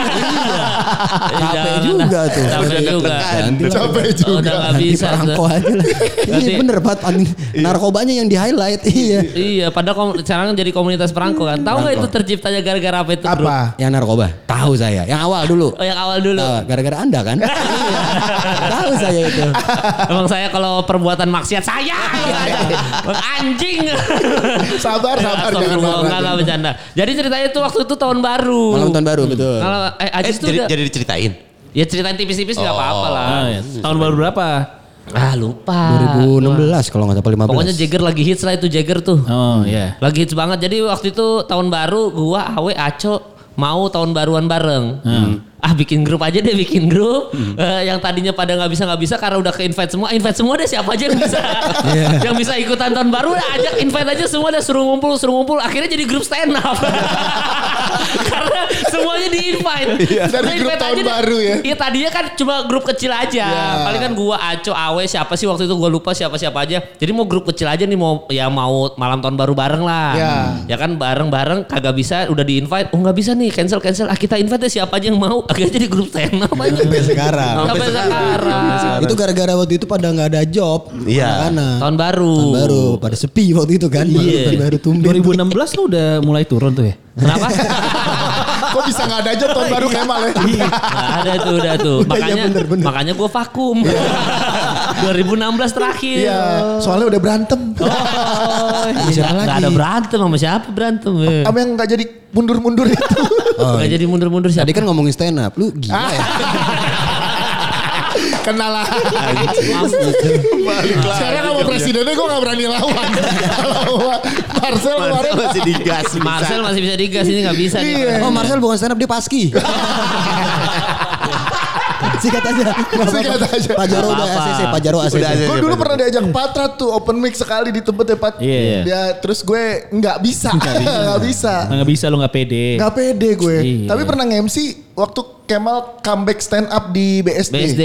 S1: Capek
S5: Jangan
S1: juga
S5: lah.
S1: tuh.
S5: Iya, nah, Capek juga.
S2: kan.
S1: Ganti lah.
S2: Capek
S5: Oh, udah
S2: juga.
S5: nggak
S1: Ganti
S5: bisa.
S1: perangko Nah, aja lah. Ini
S5: Ganti-
S1: bener Pat. An- Narkobanya yang di highlight. Iya.
S5: Iya, padahal kom- sekarang jadi komunitas perangko kan. Tahu nggak itu terciptanya gara-gara apa itu? Bro?
S2: Apa?
S1: Yang narkoba. Tahu saya. Yang awal dulu.
S5: Ah. Oh, yang awal dulu.
S1: Tahu, Gara-gara anda kan? Iya. Tahu saya itu.
S5: Emang saya kalau perbuatan maksiat saya Bang anjing.
S2: Sabar, sabar, jangan
S5: Astagfirullah,
S2: marah.
S5: enggak, enggak bercanda. Jadi ceritanya itu waktu itu tahun baru.
S1: Malam tahun baru betul.
S5: Kalau eh
S3: Eh,
S5: Ajis tuh
S3: jadi,
S5: udah
S3: jadi diceritain.
S5: ya ceritain tipis-tipis enggak apa-apa lah.
S4: Ah, iya. Tahun baru berapa?
S5: Ah, lupa.
S1: 2016 kalau nggak salah 15.
S5: Pokoknya Jagger lagi hits lah itu Jagger tuh.
S4: Oh iya.
S5: Lagi hits banget. Jadi waktu itu tahun baru gua Awe Aco mau tahun baruan bareng. Ah bikin grup aja deh bikin grup. Eh, yang tadinya pada nggak bisa nggak bisa karena udah ke invite semua. Invite semua deh siapa aja yang bisa. Yang bisa ikutan tahun baru udah ajak invite aja semua udah suruh ngumpul suruh ngumpul. Akhirnya jadi grup stand up. karena semuanya di invite.
S2: Dari grup tahun baru ya.
S5: Iya tadinya kan cuma grup kecil aja. Paling kan gua Aco, Awe, siapa sih waktu itu gua lupa siapa-siapa aja. Jadi mau grup kecil aja nih mau ya mau malam tahun baru bareng lah.
S2: Ya.
S5: Ya kan bareng-bareng kagak bisa udah di invite. Oh nggak bisa nih cancel cancel. Ah kita invite deh siapa aja yang mau. Akhirnya jadi grup stand up aja.
S1: Sampai sekarang.
S5: Sampai sekarang.
S1: Itu gara-gara waktu itu pada nggak ada job.
S3: Iya.
S1: Anak-anak.
S5: Tahun baru.
S1: Tahun baru pada sepi waktu itu kan. Baru-
S5: Iya.
S1: Baru tumben.
S4: 2016 lo udah mulai turun tuh ya.
S5: Kenapa?
S2: Kok bisa nggak ada aja tahun baru Kemal ya?
S5: Nggak ada tuh udah tuh.
S1: Udah, iya,
S5: Makanya
S1: bener, bener.
S5: makanya gua vakum. 2016 terakhir.
S2: Iya, soalnya udah berantem.
S5: Oh,
S1: Siapa
S5: nggak- nggak
S1: lagi?
S5: ada berantem sama siapa berantem. ya.
S2: Sama yang nggak jadi mundur-mundur itu. iya. Ah.
S5: Nggak jadi mundur-mundur siapa.
S1: Iya. Tadi kan ngomongin stand up, lu gila ya.
S2: kenalan.
S3: Balik lagi.
S2: Sekarang sama presidennya gue gak berani lawan. Kalau sama Marcel
S3: Marcel
S2: kemarin.
S3: masih digas. bisa.
S5: Marcel masih bisa digas ini nggak bisa nih.
S2: Iya.
S1: Oh Marcel bukan stand up dia paski. Sikat aja. Nggak apa-apa.
S2: Sikat aja.
S1: Pak Jaro
S5: Nggak
S1: udah
S5: apa-apa.
S1: ACC, Pak Jaro ACC.
S3: Udah ada.
S2: Gue dulu pernah diajak Patra tuh open mic sekali di tempatnya Pat.
S4: Iya, iya.
S2: Ya terus gue nggak bisa, nggak bisa,
S4: Nggak bisa lu nggak pede.
S2: nggak pede gue.
S4: Iya.
S2: Tapi pernah nge-MC waktu Kemal comeback stand up di BSD.
S5: BSD.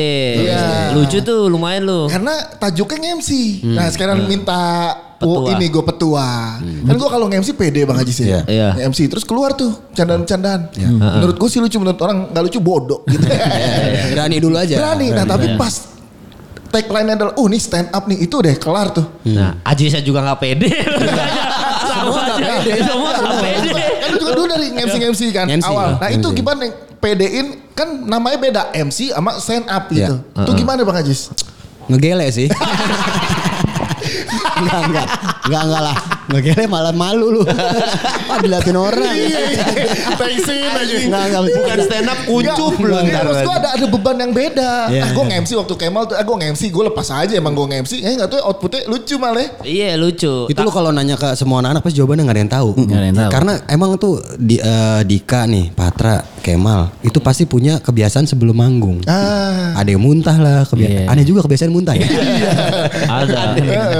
S2: Iya.
S5: Lucu tuh lumayan lu.
S2: Karena tajuknya nge-MC. Nah sekarang minta oh,
S5: Petua.
S2: ini gue petua. Kan gue kalau nge-MC pede Bang Haji sih.
S5: Iya.
S2: Nge-MC terus keluar tuh candaan-candaan. Menurut gue sih lucu, menurut orang nggak lucu bodoh gitu.
S1: Berani dulu aja.
S2: Berani.
S1: Iya.
S2: Nah tapi pas tagline adalah, oh nih stand up nih, itu deh kelar tuh.
S5: Nah, Aji saya juga nggak pede.
S2: Iya.
S5: Sama
S1: nggak
S5: aja.
S1: pede.
S5: Semua nggak pede.
S2: Kan lu juga dulu dari MC MC kan
S1: MC.
S2: awal. Nah itu
S1: MC.
S2: gimana yang PD-in kan namanya beda MC sama stand up
S3: Ya.
S1: Iya.
S2: gitu.
S3: Uh-uh.
S2: Itu gimana Bang Ajis?
S1: Ngegele sih. enggak, enggak. Enggak, enggak lah. Ngegele malah malu lu. Wah diliatin orang.
S2: Iya. Thanksin aja.
S1: Enggak, enggak.
S3: Bukan stand up kuncup lu
S2: Iya,
S3: ntar.
S2: maksud gue ada, ada beban yang beda.
S3: Ya,
S1: Iya,
S2: Ah, gue nge-MC waktu Kemal tuh, ah, gue nge-MC, gue lepas aja emang gue nge-MC. Eh gak tuh outputnya lucu malah. ya.
S5: Iya lucu.
S1: Itu lo kalau nanya ke semua anak-anak pasti jawabannya nggak ada yang tahu.
S4: Nggak ada yang tahu.
S1: Karena emang tuh di, eh, Dika nih, Patra, Kemal itu pasti punya kebiasaan sebelum manggung.
S2: Ah.
S1: Ada yang muntah lah, kebia-
S4: Iya.
S1: aneh juga kebiasaan muntah ya.
S4: Ada.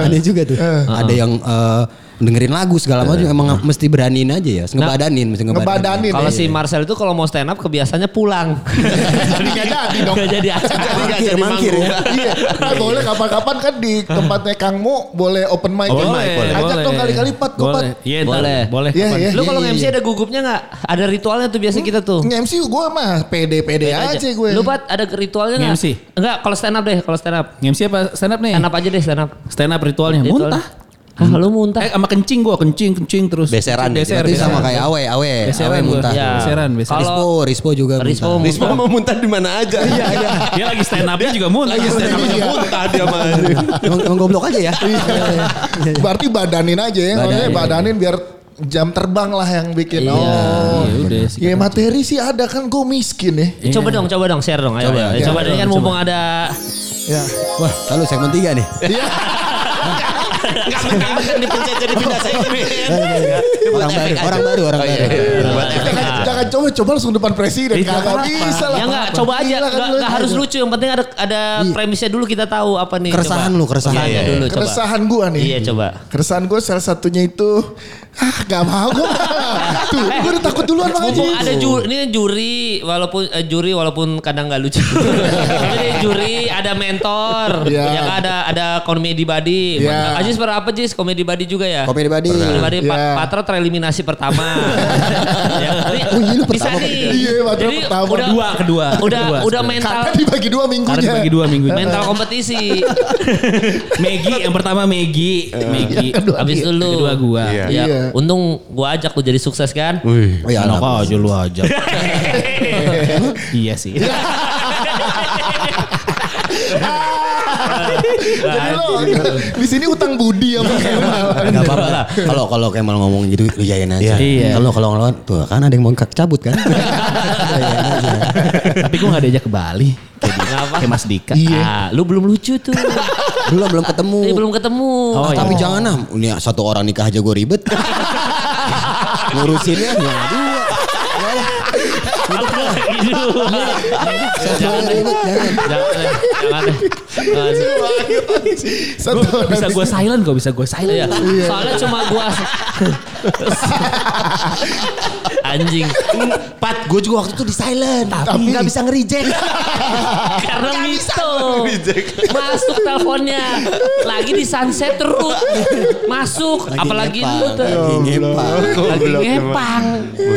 S1: aneh juga tuh. Ada yang eh, dengerin lagu segala macam emang mesti beraniin aja ya,
S5: Nah,
S1: ngebadanin, mesti ngebadanin.
S2: Ngebadanin.
S5: Kalau
S2: eh.
S5: si Marcel itu kalau mau stand up kebiasaannya pulang.
S2: Jadi nggak jadi dong.
S5: Gak jadi aja.
S3: Nggak
S1: Mangkir,
S3: jadi
S1: mangkir ya.
S3: manggung.
S2: Iya, nah, boleh kapan-kapan kan di tempatnya Kang Mo boleh open mic. ya.
S3: Open mic, boleh.
S2: Ajak dong kali-kali Pat, gue Pat.
S4: Boleh. Iya, ntar.
S5: Boleh.
S4: Boleh.
S2: Iya,
S4: kapan?
S2: iya.
S5: Lu kalau MC ada gugupnya nggak? Ada ritualnya tuh biasa kita tuh.
S2: Nge-MC gue mah pede-pede Iya, aja. gue.
S5: Lu Pat, ada ritualnya nggak?
S4: Nge-MC?
S5: Enggak, kalau stand up deh, kalau stand up.
S4: MC apa stand up nih?
S5: Stand up aja deh stand up.
S4: Stand up ritualnya.
S1: Ya,
S5: Ritual.
S4: Muntah.
S5: Hah, lu muntah.
S4: Eh sama kencing gua, kencing, kencing terus.
S1: Beseran ya,
S4: Beser,
S1: berarti
S4: beser.
S1: sama kayak awe, awe, awe
S4: Beseran gua. Ya.
S1: muntah.
S5: Iya.
S4: Beseran, beseran.
S5: Kalau-
S1: Rispo, Rispo juga
S5: Oh. Rispo
S1: muntah.
S3: Risma mau muntah di mana aja. Iya, iya.
S4: Dia lagi stand up-nya juga muntah.
S3: Lagi stand up
S2: Iya.
S3: muntah dia mah.
S1: emang, emang goblok aja ya.
S5: Iya,
S2: Berarti badanin aja ya. Maksudnya badanin biar jam terbang lah yang bikin.
S4: Iya,
S2: Oh.
S4: iya, udah sih.
S2: Ya materi sih ada kan gue miskin ya.
S5: Eh, Coba dong, coba dong, share dong. Ayo,
S1: Coba,
S5: coba, ayo.
S1: iya,
S5: coba ini
S4: coba.
S5: kan mumpung ada Iya.
S2: Ya.
S1: Wah, lalu segmen 3 nih.
S3: Enggak menekan dipencet jadi pindah segmen.
S5: Iya,
S1: Orang baru, orang baru, orang baru.
S3: Buat efek.
S2: Jangan, Ya. jangan coba coba langsung depan presiden.
S4: Ih,
S2: Kagak
S4: jangan
S2: bisa lah.
S5: Ya enggak,
S2: Apa-apa.
S5: coba aja.
S2: Gila kan
S5: Enggak
S2: lu.
S5: enggak harus lucu, yang penting ada ada premisnya dulu kita tahu apa nih.
S1: Iya. Keresahan
S5: coba.
S1: lu, keresahan.
S5: Keresahannya
S1: Iya, iya.
S5: dulu coba.
S2: Keresahan gue nih.
S5: Iya, coba.
S2: Keresahan gue salah satunya itu ah gak mau gue. Tuh gue udah takut duluan bang Haji.
S5: Mumpung Oh, ada juri, ini juri walaupun eh, juri walaupun kadang nggak lucu. Tapi ini juri ada mentor,
S2: Iya.
S5: yang ada ada comedy buddy.
S2: Iya.
S5: Ajis pernah apa Jis? Comedy buddy juga ya?
S1: Kopi di badi.
S5: Comedy buddy Pa-
S2: Iya.
S5: Patra tereliminasi pertama. ya, ini
S1: Oh, iya, lu
S5: bisa
S1: pertama.
S5: nih.
S2: Iya, Patra
S5: Jadi
S2: pertama.
S5: Udah,
S4: Kedua, kedua.
S5: Udah
S4: Kedua,
S5: udah
S4: sebenarnya.
S5: mental
S2: Karena dibagi dua
S4: Karena
S2: minggunya.
S4: dibagi dua minggu.
S5: mental kompetisi.
S4: Maggie yang pertama Maggie, Maggie.
S2: kedua
S5: Habis
S2: dia.
S5: dulu.
S4: Kedua gua.
S3: Iya.
S5: Ya,
S2: Iya.
S5: untung gua ajak lu jadi sukses kan.
S1: Oh ya,
S4: Anak
S1: anak.
S4: aja lu aja. Iya sih.
S5: Ah,
S2: Jadi lo
S5: iya,
S2: di sini utang budi ya Bang Kemal.
S1: Enggak apa-apa lah.
S5: Iya.
S1: Kalau kalau Kemal ngomong gitu lu yain aja.
S4: Iya.
S1: Kalau kalau ngelawan tuh kan ada yang mau cabut kan. Yayain aja.
S4: Tapi gua gak diajak ke Bali. Kayak di-
S5: Kenapa?
S4: Kayak Mas Dika.
S5: Ah, lu belum lucu tuh.
S1: Belum belum ketemu.
S5: Ini Iya, belum ketemu.
S4: Oh,
S1: Ah, tapi jangan ah, ini satu orang nikah aja gue ribet. Ngurusinnya nggak dua. Jangan ribet, jangan.
S5: Jangan. Jangan.
S2: Satu orang
S4: Bisa gua silent kok, bisa gua silent.
S5: Iya. Soalnya cuma gua anjing
S1: Pat, gue juga waktu itu di silent. Tapi nggak bisa nge-reject. Iya,
S5: karena mito masuk teleponnya lagi di sunset root masuk apalagi lu
S1: ngepang, Lagi
S5: tuh
S1: ngepang.
S5: lagi
S3: Goblok emang.
S5: ngepang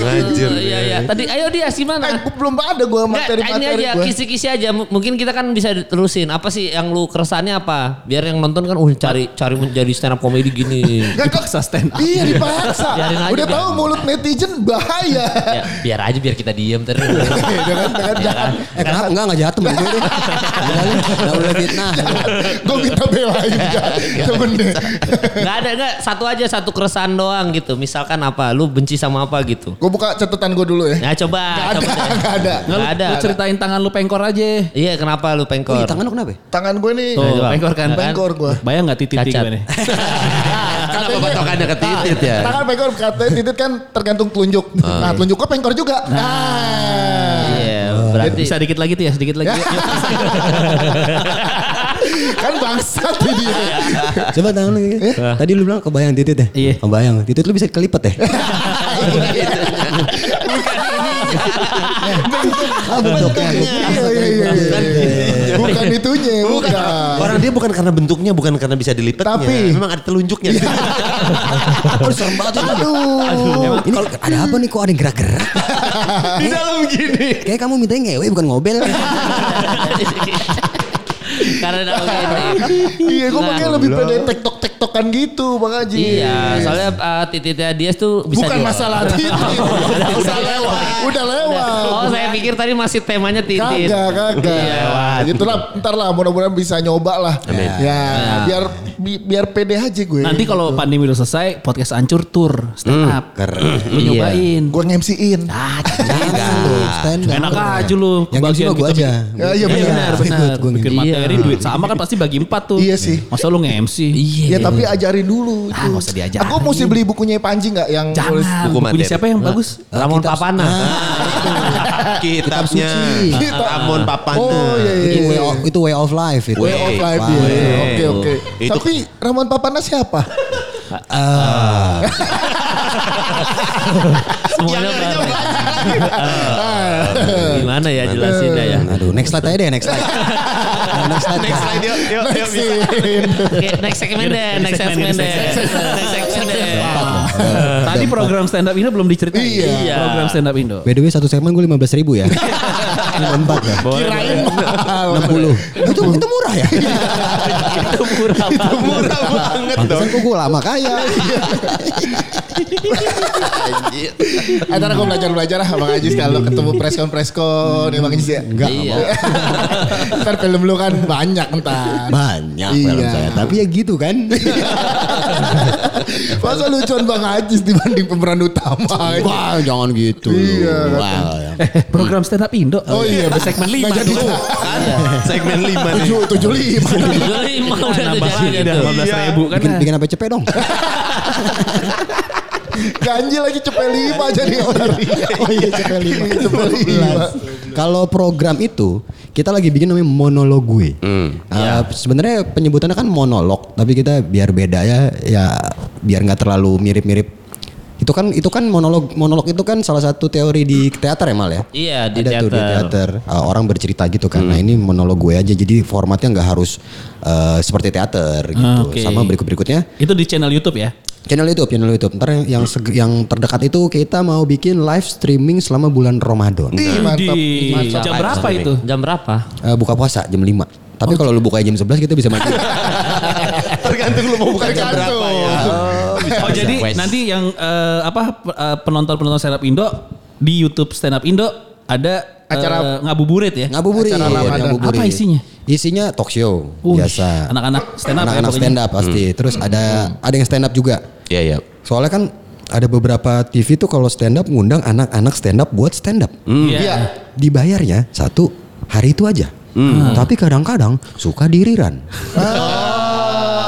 S3: Anjir.
S5: iya iya tadi ayo dia
S2: Eh,
S5: gimana
S2: gua belum ada gue
S5: Enggak, ini
S2: materi-materi
S5: aja
S2: gue.
S5: kisi-kisi aja. M- Mungkin kita kan bisa terusin. Apa sih yang lu keresahannya apa? Biar yang nonton kan, uh cari cari menjadi stand up comedy gini.
S4: Dipaksa stand up.
S2: Iya dipaksa.
S5: Biarin aja,
S2: Udah
S5: biarin.
S2: tahu mulut netizen bahaya.
S5: ya, biar aja biar kita diem terus.
S2: Jangan jangan jangan.
S1: Eh kenapa enggak enggak jahat temen gue deh. Enggak lu, enggak boleh fitnah.
S2: Gue minta belain ya. Temen deh.
S5: Enggak ada enggak satu aja satu keresahan doang gitu. Misalkan apa? Lu benci sama apa gitu.
S2: Gue buka catatan gue dulu ya.
S5: Nah, coba.
S2: Gak ada,
S5: coba.
S2: gak ada.
S5: Nggak ada.
S4: Lu cerita ngatain tangan lu pengkor aja.
S5: Iya kenapa lu
S1: Oh, iya,
S5: pengkor?
S1: tangan lu kenapa? ya?
S2: Tangan gue nih.
S4: Tuh,
S5: coba.
S4: pengkor kan.
S2: Pengkor gua.
S4: Bayang gak titik
S5: Cacat.
S4: gue nih?
S3: Kenapa patokannya ke titit ya?
S2: Tangan pengkor katanya titit kan tergantung telunjuk. Nah telunjuk gue pengkor juga. Nah.
S5: Iya berarti.
S4: Bisa dikit lagi tuh ya, sedikit lagi.
S2: kan bangsat tuh dia.
S1: Coba tangan lu. gitu. Tadi lu bilang kebayang titit ya?
S4: Iya.
S1: Kebayang. Titit lu bisa kelipet ya? Ah, bentuknya.
S2: Iya iya iya. iya, iya. Bukan itunya. Bukan.
S3: Orang dia bukan karena bentuknya, bukan karena bisa dilipetnya.
S2: Tapi-
S3: memang ada telunjuknya.
S1: Aduh, serem banget itu.
S2: Aduh.
S1: Ini kalau ada apa nih kok ada yang gerak-gerak?
S3: Di dalam gini.
S1: Kayak kamu mintanya ngewe bukan ngobel.
S5: Karena dalam ini.
S2: Iya gue
S5: Nah,
S2: makanya lebih pede tektok-tektokan gitu Bang Haji.
S5: Iya soalnya uh, tititnya dia tuh bisa
S2: Bukan
S5: di-
S2: masalah titik. Udah lewat. Udah lewat.
S5: Oh saya pikir tadi masih temanya titit.
S2: Kagak, kagak. Itulah, ntar lah mudah-mudahan bisa nyoba lah. Ya, biar bi- biar pede aja gue.
S4: Nanti kalau pandemi udah selesai, podcast ancur tour stand up. Lu
S5: Iya.
S4: nyobain.
S2: gue ngemsiin.
S4: Ah,
S1: Stand up.
S4: Enak aja lu.
S1: Yang
S4: Kebagian
S1: bagian gua
S4: kita
S1: aja.
S2: Ya, iya,
S4: Iya
S2: benar.
S4: benar,
S1: Gua ikut,
S4: benar.
S1: gua
S4: Bikin
S1: ngikut.
S4: materi duit sama kan pasti bagi empat tuh.
S2: Iya sih.
S4: Masa lu nge-MC?
S5: Iya.
S2: Ya tapi ajarin dulu itu.
S4: Ah, nggak usah diajarin.
S2: Aku mesti beli bukunya Panji nggak yang tulis
S4: Jangan.
S3: Buku
S4: Bukunya
S3: materi.
S4: siapa yang bagus?
S5: Ramon Papana.
S3: Kitabnya.
S2: suci.
S3: Kitab. Ramon Papan
S2: Oh,
S3: tuh.
S2: iya, iya.
S1: Itu way of, itu way of life itu.
S2: Way of life dia.
S1: Wah.
S2: Oke oke.
S3: Itu-
S2: Tapi Ramon Papana siapa?
S5: Semuanya bareng.
S2: Ah.
S5: Gimana ya jelasinnya ya.
S1: Aduh, next slide aja deh, next slide. Nah, next slide.
S3: Next slide yuk. Yuk, yuk.
S2: Next
S3: bisa.
S2: in.
S5: Oke, next segmen deh, next segmen deh. Next segmen deh.
S4: Tadi program stand up Indo belum diceritain.
S2: Iya.
S5: Iya.
S4: Program stand up Indo.
S1: By the way, satu segmen gue 15 ribu ya. Ini Empat ya.
S2: Kirain mahal.
S1: 60. Itu itu murah ya.
S5: Itu murah banget.
S3: Murah banget dong.
S1: Pantesan kok gue lama kaya.
S2: Eh, Ntar aku belajar-belajar lah Bang Ajis kalau ketemu preskon-preskon ya Bang Ajis ya. Enggak.
S5: Iya.
S2: ntar film lu kan banyak ntar.
S1: Banyak
S2: Iya.
S1: film saya, tapi ya gitu kan.
S2: Masa lucuan Bang Ajis dibanding pemeran utama.
S1: Wah, jangan gitu.
S2: Iya.
S1: Wah, ya.
S4: Eh, program stand up Indo.
S2: Oh iya,
S4: Ada segmen
S2: Nggak
S4: lima Oh,
S2: jadi.
S4: dulu.
S3: Kan? Segmen lima nih.
S2: Tujuh, tujuh lima.
S5: Jadi mau udah tuh jalannya
S4: Iya,
S5: tuh.
S4: 15
S3: Iya.
S4: ribu kan.
S1: Bikin, bikin apa cepet dong.
S2: Ganji lagi cepet lima jadi orang.
S1: Oh iya cepet lima.
S2: Cepet lima.
S1: Kalau program itu kita lagi bikin namanya monolog gue.
S5: Hmm, iya.
S1: Ah, Sebenarnya penyebutannya kan monolog, tapi kita biar beda ya, ya biar nggak terlalu mirip-mirip. Itu kan itu kan monolog monolog itu kan salah satu teori di teater ya mal ya.
S5: Iya, di
S1: Ada tuh di
S5: teater. Hmm.
S1: teater uh, orang bercerita gitu kan. Nah ini monolog gue aja, jadi formatnya nggak harus uh, seperti teater
S5: Ah,
S1: gitu.
S4: Oke.
S1: Sama berikut berikutnya
S4: Itu di channel YouTube ya.
S1: Channel YouTube, channel YouTube. Ntar yang yang, seg- yang terdekat itu kita mau bikin live streaming selama bulan Ramadan.
S2: Ih, mantap.
S4: Di jam berapa itu?
S5: Jam berapa?
S1: Eh, buka puasa jam 5.
S4: Oh.
S1: Tapi kalau lu buka jam 11 kita bisa maju.
S3: Tergantung lu mau buka jam berapa
S2: Tergantung.
S3: ya.
S4: Oh jadi nanti yang eh, apa pe- eh, penonton-penonton stand up Indo di YouTube stand up Indo ada eh,
S2: Acara-
S4: ngabuburit ya.
S1: Ngabuburit, Iya,
S2: Acara Ramadan.
S1: ngabuburit.
S4: Apa isinya?
S1: Isinya talk show
S4: Wih,
S1: biasa.
S4: Uh, Anak-anak stand up.
S1: Anak-anak
S4: ya pokoknya. Hmm.
S1: stand up pasti. Terus ada ada yang stand up juga.
S3: Iya, iya.
S1: Soalnya kan ada beberapa TV tuh kalau stand up ngundang anak-anak stand up buat stand up.
S4: Iya.
S2: Iya.
S1: Dibayarnya satu hari itu aja. Hmm.
S4: Hmm.
S1: Tapi kadang-kadang suka diriran.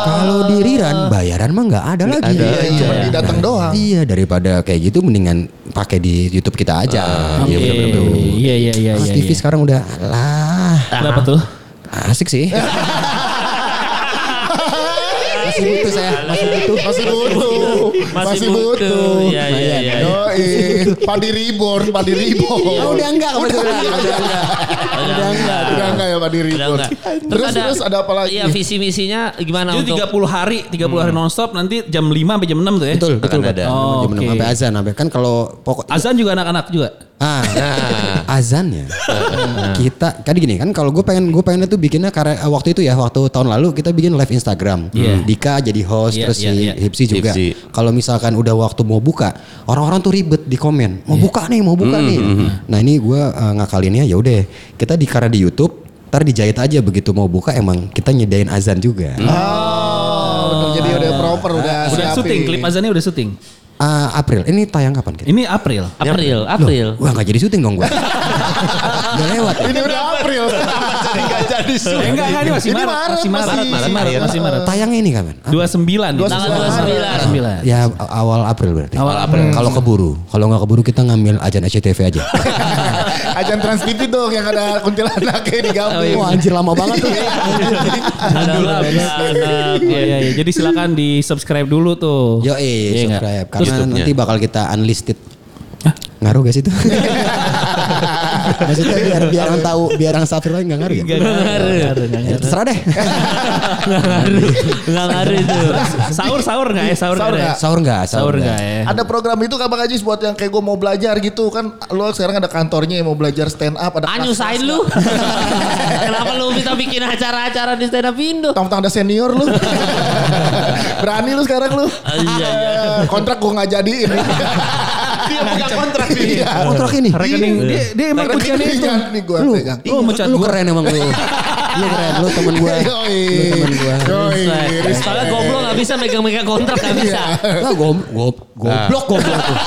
S1: Kalau diriran bayaran mah nggak ada lagi.
S2: Iya, Ah. cuma didatang doang.
S1: Iya daripada kayak gitu mendingan pakai di YouTube kita aja.
S4: Ah. Oke. Iya iya iya
S1: Mas
S4: iya.
S1: TV sekarang udah lah
S4: Kenapa tuh?
S1: asik sih.
S2: Iya,
S1: masih butuh saya, masih butuh.
S2: Masih butuh. Masih butuh. ya.
S5: Iya, iya, iya.
S2: Yoi. Padi reborn, padi reborn.
S1: Oh, udah enggak kebetulan. Udah enggak.
S5: Udah enggak.
S2: Udah enggak ya padi
S5: Udah
S2: reborn.
S5: enggak.
S2: Terus terus ada apa lagi?
S5: Iya, visi misinya gimana
S4: Jadi
S5: untuk
S4: 30 hari, 30 hari nonstop nanti jam 5 sampai jam 6 tuh ya.
S1: Betul, betul.
S3: Akan ada.
S1: Jam
S4: Oh,
S1: enam
S4: oke.
S1: sampai azan sampai kan kalau pokok
S4: Azan juga anak-anak juga.
S1: Ah, azannya. ya? kita kan gini kan kalau gue pengen gue pengennya tuh bikinnya karena eh, waktu itu ya waktu tahun lalu kita bikin live Instagram. Hmm.
S4: Iya.
S1: Dika jadi host
S4: Iya,
S1: terus
S4: iya,
S1: si
S4: iya.
S1: Hipsi juga.
S3: Hipsi.
S1: Kalau misalkan udah waktu mau buka, orang-orang tuh ribet di komen. Mau buka nih, mau buka nih. Nah, ini gue eh, ngakalinnya ya udah kita di karena di YouTube ntar dijahit aja begitu mau buka emang kita nyedain azan juga.
S2: Oh, betul. Jadi udah proper, udah
S4: Udah
S2: siapin.
S4: syuting, klip azannya udah syuting.
S1: Ah, April, ini tayang kapan kita?
S4: Ini April.
S5: April, April.
S1: Wah nggak jadi syuting dong gue. Udah lewat. ya?
S2: Ini udah April.
S3: jadi gak jadi
S4: Eh, enggak, enggak, ini masih
S2: Ini
S4: Maret.
S2: Maret
S4: Masih Maret,
S2: masih.
S4: masih Maret,
S3: Maret,
S4: masih Maret.
S1: Tayangnya ini kapan? April.
S4: 29.
S2: Dua
S5: Tanggal
S2: sembilan.
S5: 29.
S4: 29.
S1: Ya a- awal April berarti. Hmm.
S4: Awal April.
S1: Kalau keburu, kalau nggak keburu kita ngambil ajan SCTV aja.
S2: Ajan Trans TV dong yang ada kuntilanaknya di
S4: Oh, iya,
S2: Gambir.
S1: Wah anjir lama banget tuh.
S4: Ada lah, Iya, iya, iya. Jadi silakan di subscribe dulu tuh.
S1: Yo eh
S4: Iya nggak?
S1: subscribe karena
S3: YouTube-nya.
S1: nanti bakal kita unlisted. Ngaruh gak sih itu? Maksudnya biar biar orang tahu biar orang safir lagi nggak ngaruh ya?
S4: kan? Nggak ngaruh.
S1: Ya, terserah deh.
S5: Nggak ngaruh. Nggak ngaruh itu.
S4: Sahur sahur nggak ya? Sahur
S2: Sahur
S4: nggak? ya?
S1: Sahur nggak?
S4: Sahur nggak ya?
S2: Ada program itu kan Bang Ajis buat yang kayak gue mau belajar gitu kan. Lo sekarang ada kantornya yang mau belajar stand up. Ada
S5: Anyusain Ah, lu. Kenapa lu bisa bikin acara-acara di stand up Indo?
S2: Tentang ada senior lu. Berani lu sekarang lu.
S4: Ah,
S5: Iya,
S2: Eh, Kontrak gue gak jadiin.
S3: Dia pegang kontrak ini.
S2: Iya.
S4: ya.
S1: Kontrak ini.
S4: Rekening dia dia emang
S2: Rekening
S4: kunciannya itu.
S2: pegang Nih gue
S1: Lu,
S2: pegang.
S1: lu,
S4: mecat
S1: lu
S4: gua.
S1: keren emang lu. Lu keren, lu temen gua.
S2: Yoi.
S1: Lu temen gua.
S2: Yoi.
S5: Soalnya goblok nggak bisa megang-megang kontrak nggak bisa.
S1: Nah, gob, gob, goblok, goblok. tuh.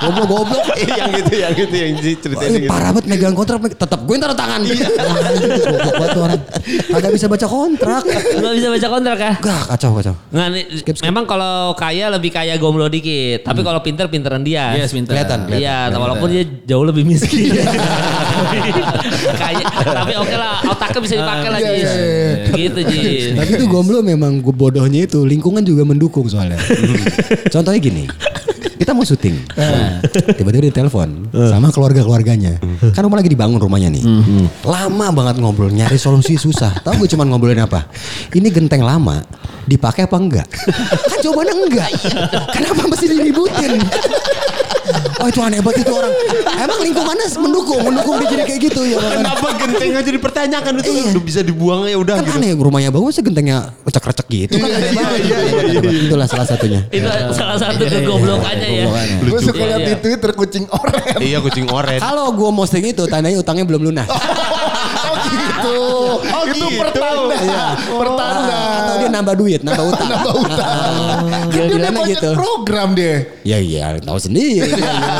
S1: Goblok, goblok.
S3: yang gitu, yang gitu, yang ceritain
S1: Ini
S3: gitu.
S1: parah banget megang kontrak, meg- tetap gue ntar tangan. Wah, anjing, Goblok banget tuh orang. Kagak bisa baca kontrak.
S5: Nggak bisa baca kontrak ya.
S1: Gak, kacau, kacau.
S5: Nggak, nih, memang kalau kaya lebih kaya gomlo dikit. Tapi kalau pinter pinteran dia.
S4: Yes, pinter.
S1: Hmm. Kelihatan, kelihatan. Iya.
S5: Iya, walaupun dia jauh lebih miskin. Kayak, tapi oke lah, otaknya bisa dipakai
S1: Ah,
S5: lagi.
S2: Iya, iya,
S5: Gitu Ji.
S1: Tapi itu gomblo memang gue bodohnya itu lingkungan juga mendukung soalnya. Contohnya gini. Kita mau syuting. Nah, Tiba-tiba ditelepon sama keluarga-keluarganya. Kan rumah lagi dibangun rumahnya nih. Lama banget ngobrol, nyari solusi susah. Tahu gue cuman ngobrolin apa? Ini genteng lama dipakai apa enggak? Kan jawabannya enggak. Kenapa mesti diributin? Oh itu aneh banget itu orang. Emang lingkungannya mendukung, mendukung dia jadi kayak gitu ya. kan?
S3: Kenapa genteng aja dipertanyakan itu
S1: Iya.
S3: udah bisa dibuang ya udah
S1: kan
S3: gitu. Iya,
S1: aneh rumahnya bagus segentengnya recek-recek gitu kan aneh banget. itulah salah satunya
S5: Itu salah satu kegoblokannya ya.
S1: Iya. Kegoblokannya.
S2: Gue suka
S5: Iya,
S2: liat
S5: iya.
S2: di Twitter kucing oren.
S3: Iya kucing oren.
S1: kalau gue posting itu tandanya utangnya belum lunas
S2: Oh gitu. Iya.
S3: Oh,
S2: itu
S3: gitu.
S2: pertanda. Oh. Pertanda.
S1: atau dia nambah duit nambah utang
S2: Nambah utang. Kan
S1: Gila
S2: dia udah
S1: bilangnya
S2: banyak
S1: gitu
S2: program deh.
S1: ya iya tahu sendiri
S3: iya.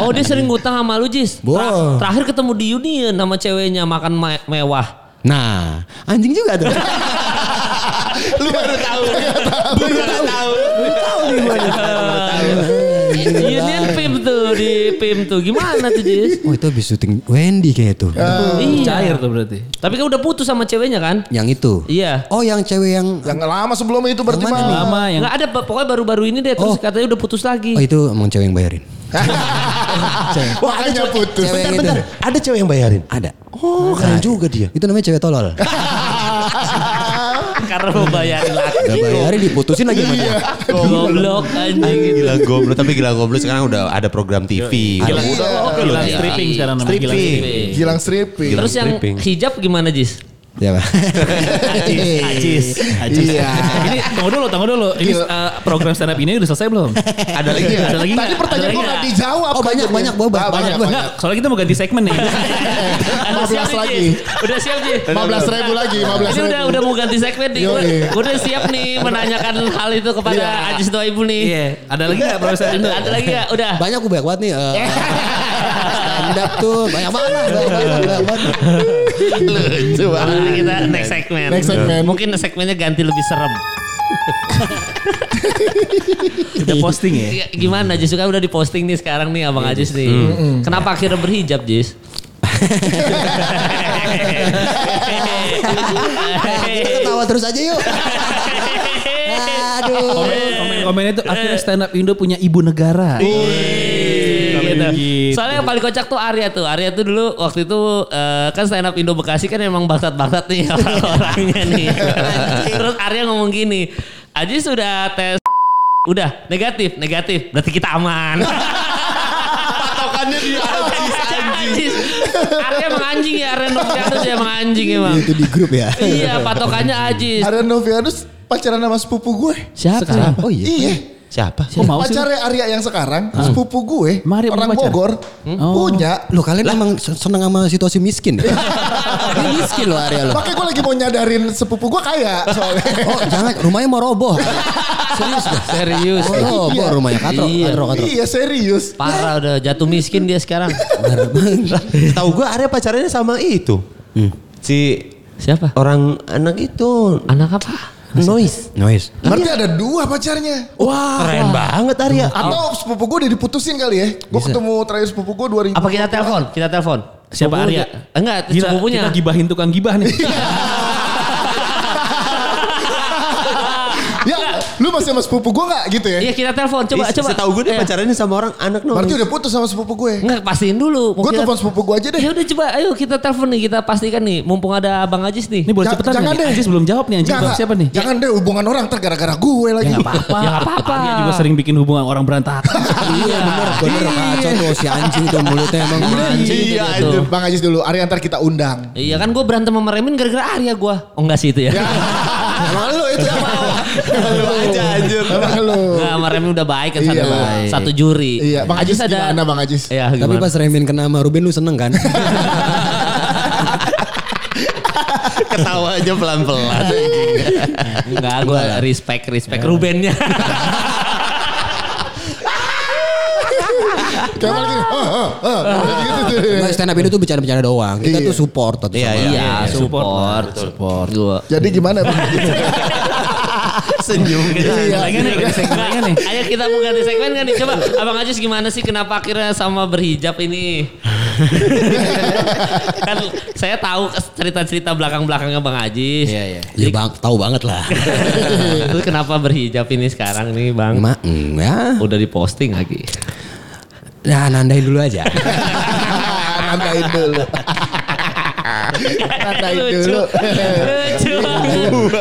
S5: Oh dia sering ngutang sama lu Jis. Tra-
S1: Wah.
S5: Terakhir ketemu di Union sama ceweknya makan me- mewah.
S1: nah anjing juga tuh
S3: Lu
S2: Iya.
S3: baru tahu. Lu baru tahu. Iya.
S1: Iya.
S5: Union PIM tuh di PIM tuh gimana tuh Jis?
S1: oh itu habis syuting Wendy kayak itu
S3: Ah.
S5: Iya.
S4: Cair tuh berarti.
S5: Tapi kan udah putus sama ceweknya kan?
S1: yang itu
S5: Iya.
S1: oh yang cewek yang
S2: Yang lama sebelum itu berarti
S1: Yang mana
S2: mah.
S4: Lama yang
S5: Nggak ada pokoknya baru-baru ini deh terus
S1: Oh.
S5: katanya udah putus lagi.
S3: Iya.
S1: oh
S2: iya,
S1: itu emang cewek yang bayarin
S2: Makanya putus.
S1: cewek yang itu
S3: Bentar, ada cewek yang bayarin.
S1: ada
S3: Oh, keren juga dia.
S1: itu namanya cewek tolol
S5: Karena mau bayarin lagi.
S1: Gak bayarin diputusin lagi sama dia.
S5: Goblok anjing.
S3: Gila goblok, tapi gila goblok sekarang udah ada program TV.
S1: Gila.
S3: Udah, oke loh.
S4: Gilang Oh, stripping sekarang namanya. Gilang
S3: Stripping.
S4: Iya. stripping.
S2: Gilang stripping.
S5: Terus yang
S3: Stripping.
S5: hijab gimana Jis?
S1: Siapa?
S4: Ajis, Ajis. Ini tunggu dulu, tunggu dulu. Ini eh, program stand up ini udah selesai belum?
S3: Ada lagi ya?
S4: Ada lagi
S2: Iya. Tadi
S4: nggak?
S2: pertanyaan
S4: Ada
S2: gue gak
S4: lagi nggak?
S2: dijawab.
S1: Oh, banyak,
S2: kan,
S1: banyak,
S2: jadi.
S1: gua banyak,
S2: banyak.
S1: gua.
S4: Nggak, soalnya kita mau ganti segmen nih.
S5: Udah
S2: 15
S5: siap nih,
S2: lagi.
S5: Jis? Udah siap Jis?
S2: 15 ribu lagi, 15
S5: Ini
S2: ribu.
S5: udah udah mau ganti segmen nih. Gue
S2: Yoi.
S5: gue udah siap nih menanyakan hal itu kepada Ajis Doaibu nih.
S4: Iya, ada lagi nggak program stand up?
S5: Ada lagi ya? Udah.
S1: Banyak gue banyak banget nih. eh, stand up tuh banyak banget lah. Banyak banget, banyak banget.
S5: Lucu banget. Kita next segmen.
S2: Next segmen.
S5: Mungkin segmennya ganti lebih serem.
S4: Udah posting ya.
S5: Iya, Gimana Jis? Kan udah diposting nih sekarang nih Abang Ajis nih. Kenapa akhirnya berhijab Jis?
S1: Nah, Kita ketawa terus aja yuk. Aduh.
S4: Komen- Komen-komennya tuh akhirnya stand up Indo punya ibu negara.
S5: gitu.
S4: Gitu.
S5: Soalnya yang paling kocak tuh Arya tuh. Arya tuh dulu waktu itu eh, kan stand up Indo Bekasi kan emang bangsat-bangsat nih
S1: Iya.
S5: orang-orangnya nih. Terus Arya ngomong gini, Aji sudah tes udah negatif, negatif. Berarti kita aman.
S3: Patokannya dia habis anjing.
S5: Ajis. Arya emang anjing ya, Arya Novianus ya emang anjing emang.
S1: Iya, Itu di grup ya.
S5: Iya, patokannya Ajis.
S2: Ada Novianus pacaran sama sepupu gue.
S5: Siapa?
S1: Oh iya.
S2: Iya.
S3: Siapa?
S4: Kok mau sih?
S2: Pacarnya Arya yang sekarang, sepupu gue,
S4: Emang Arya
S2: orang
S4: punya pacar?
S2: Bogor,
S4: Oh.
S2: punya.
S1: Lo kalian emang seneng sama situasi miskin. ya? Ini miskin
S2: Iya
S1: lo area lo.
S2: Makanya gue lagi mau nyadarin sepupu gue kaya soalnya.
S1: Oh jangan rumahnya mau roboh.
S5: Serius dah. Serius.
S1: Oh,
S2: Iya.
S1: boh rumahnya katro,
S5: Iya.
S1: katro, katro.
S2: Iya serius.
S5: Parah udah jatuh miskin dia sekarang.
S3: Tahu gue Arya pacarnya sama itu. Si
S5: Siapa?
S3: orang anak itu
S5: Anak apa?
S3: noise.
S1: Noise.
S2: Berarti ada dua pacarnya.
S3: Wah, keren banget Arya.
S2: Atau sepupu gue udah diputusin kali ya. Gue ketemu terakhir sepupu gue 2000.
S5: Apa kita telepon? Kita telepon.
S4: Siapa
S5: Sepupu
S4: Arya? Iya.
S5: dia- Enggak,
S4: Gila,
S5: sepupunya.
S4: kita gibahin tukang gibah nih.
S2: Ya, lu masih sama sepupu gue gak gitu ya?
S5: Iya, kita telepon. Coba coba.
S3: Tahu gue dia
S5: Iya.
S3: pacarnya sama orang anak noise.
S2: Berarti udah putus sama sepupu gue.
S5: Enggak, pastiin dulu. Mau
S2: Gue
S5: kita-
S2: telepon sepupu gue aja deh.
S5: Ya udah coba ayo kita telepon nih kita pastikan nih mumpung ada Bang Ajis nih.
S4: Ini boleh
S2: Ja-
S4: cepetan
S2: jangan
S4: nggak nih?
S2: deh.
S4: Ajis belum jawab nih anjing.
S2: Nggak,
S4: Jawab
S2: nggak.
S4: siapa nih?
S2: Jangan deh hubungan orang ntar gara-gara gue lagi.
S4: Ya nggak apa-apa.
S5: Ya, nggak apa-apa.
S4: Arya juga sering bikin hubungan orang berantakan.
S1: Iya bener, bener kacau tuh si anjing tuh mulutnya emang.
S5: Anjing
S2: Iya,
S5: itu dia
S2: itu.
S5: tuh.
S2: Bang Ajis dulu. Arya ntar kita undang.
S5: Iya kan gue berantem sama Remin gara-gara Arya gue. Oh enggak sih itu ya.
S2: Iya. Emang lu itu apa?
S3: Lu aja anjir.
S2: Emang lu.
S5: Enggak sama Remin udah baik kan
S2: Iya,
S5: satu,
S2: baik.
S5: satu juri.
S2: Iya, Bang Ajis gimana Bang Ajis?
S5: Iya,
S1: Tapi
S5: gimana?
S1: pas Remin kena sama Ruben lu seneng kan?
S3: Ketawa aja pelan-pelan.
S5: Enggak, gue respect respect Rubennya.
S2: Kayak lagi. "Ah, ah, ah." Kayak gitu tuh.
S1: Nggak stand up itu tuh bercanda-bercanda doang. Kita
S2: Iya.
S1: tuh support satu sama lain.
S5: Iya, support, support. Gua.
S2: Jadi gimana Bang Ajis?
S3: Senyum gitu.
S4: Kayaknya nih, kayaknya kayaknya nih.
S5: Iya, Ayo kita mau ganti segmen kan nih. Coba Abang Ajis gimana sih kenapa akhirnya sama berhijab ini? kan saya tahu cerita-cerita belakang-belakangnya Bang Ajis. Iya, iya.
S1: Ya bang, tahu banget lah.
S5: Terus kenapa berhijab ini sekarang nih Bang?
S1: Ma, mm, ya.
S5: Udah diposting lagi.
S1: Nah, nandain dulu aja.
S2: Nandain dulu. Nandain dulu.
S5: Lucu banget.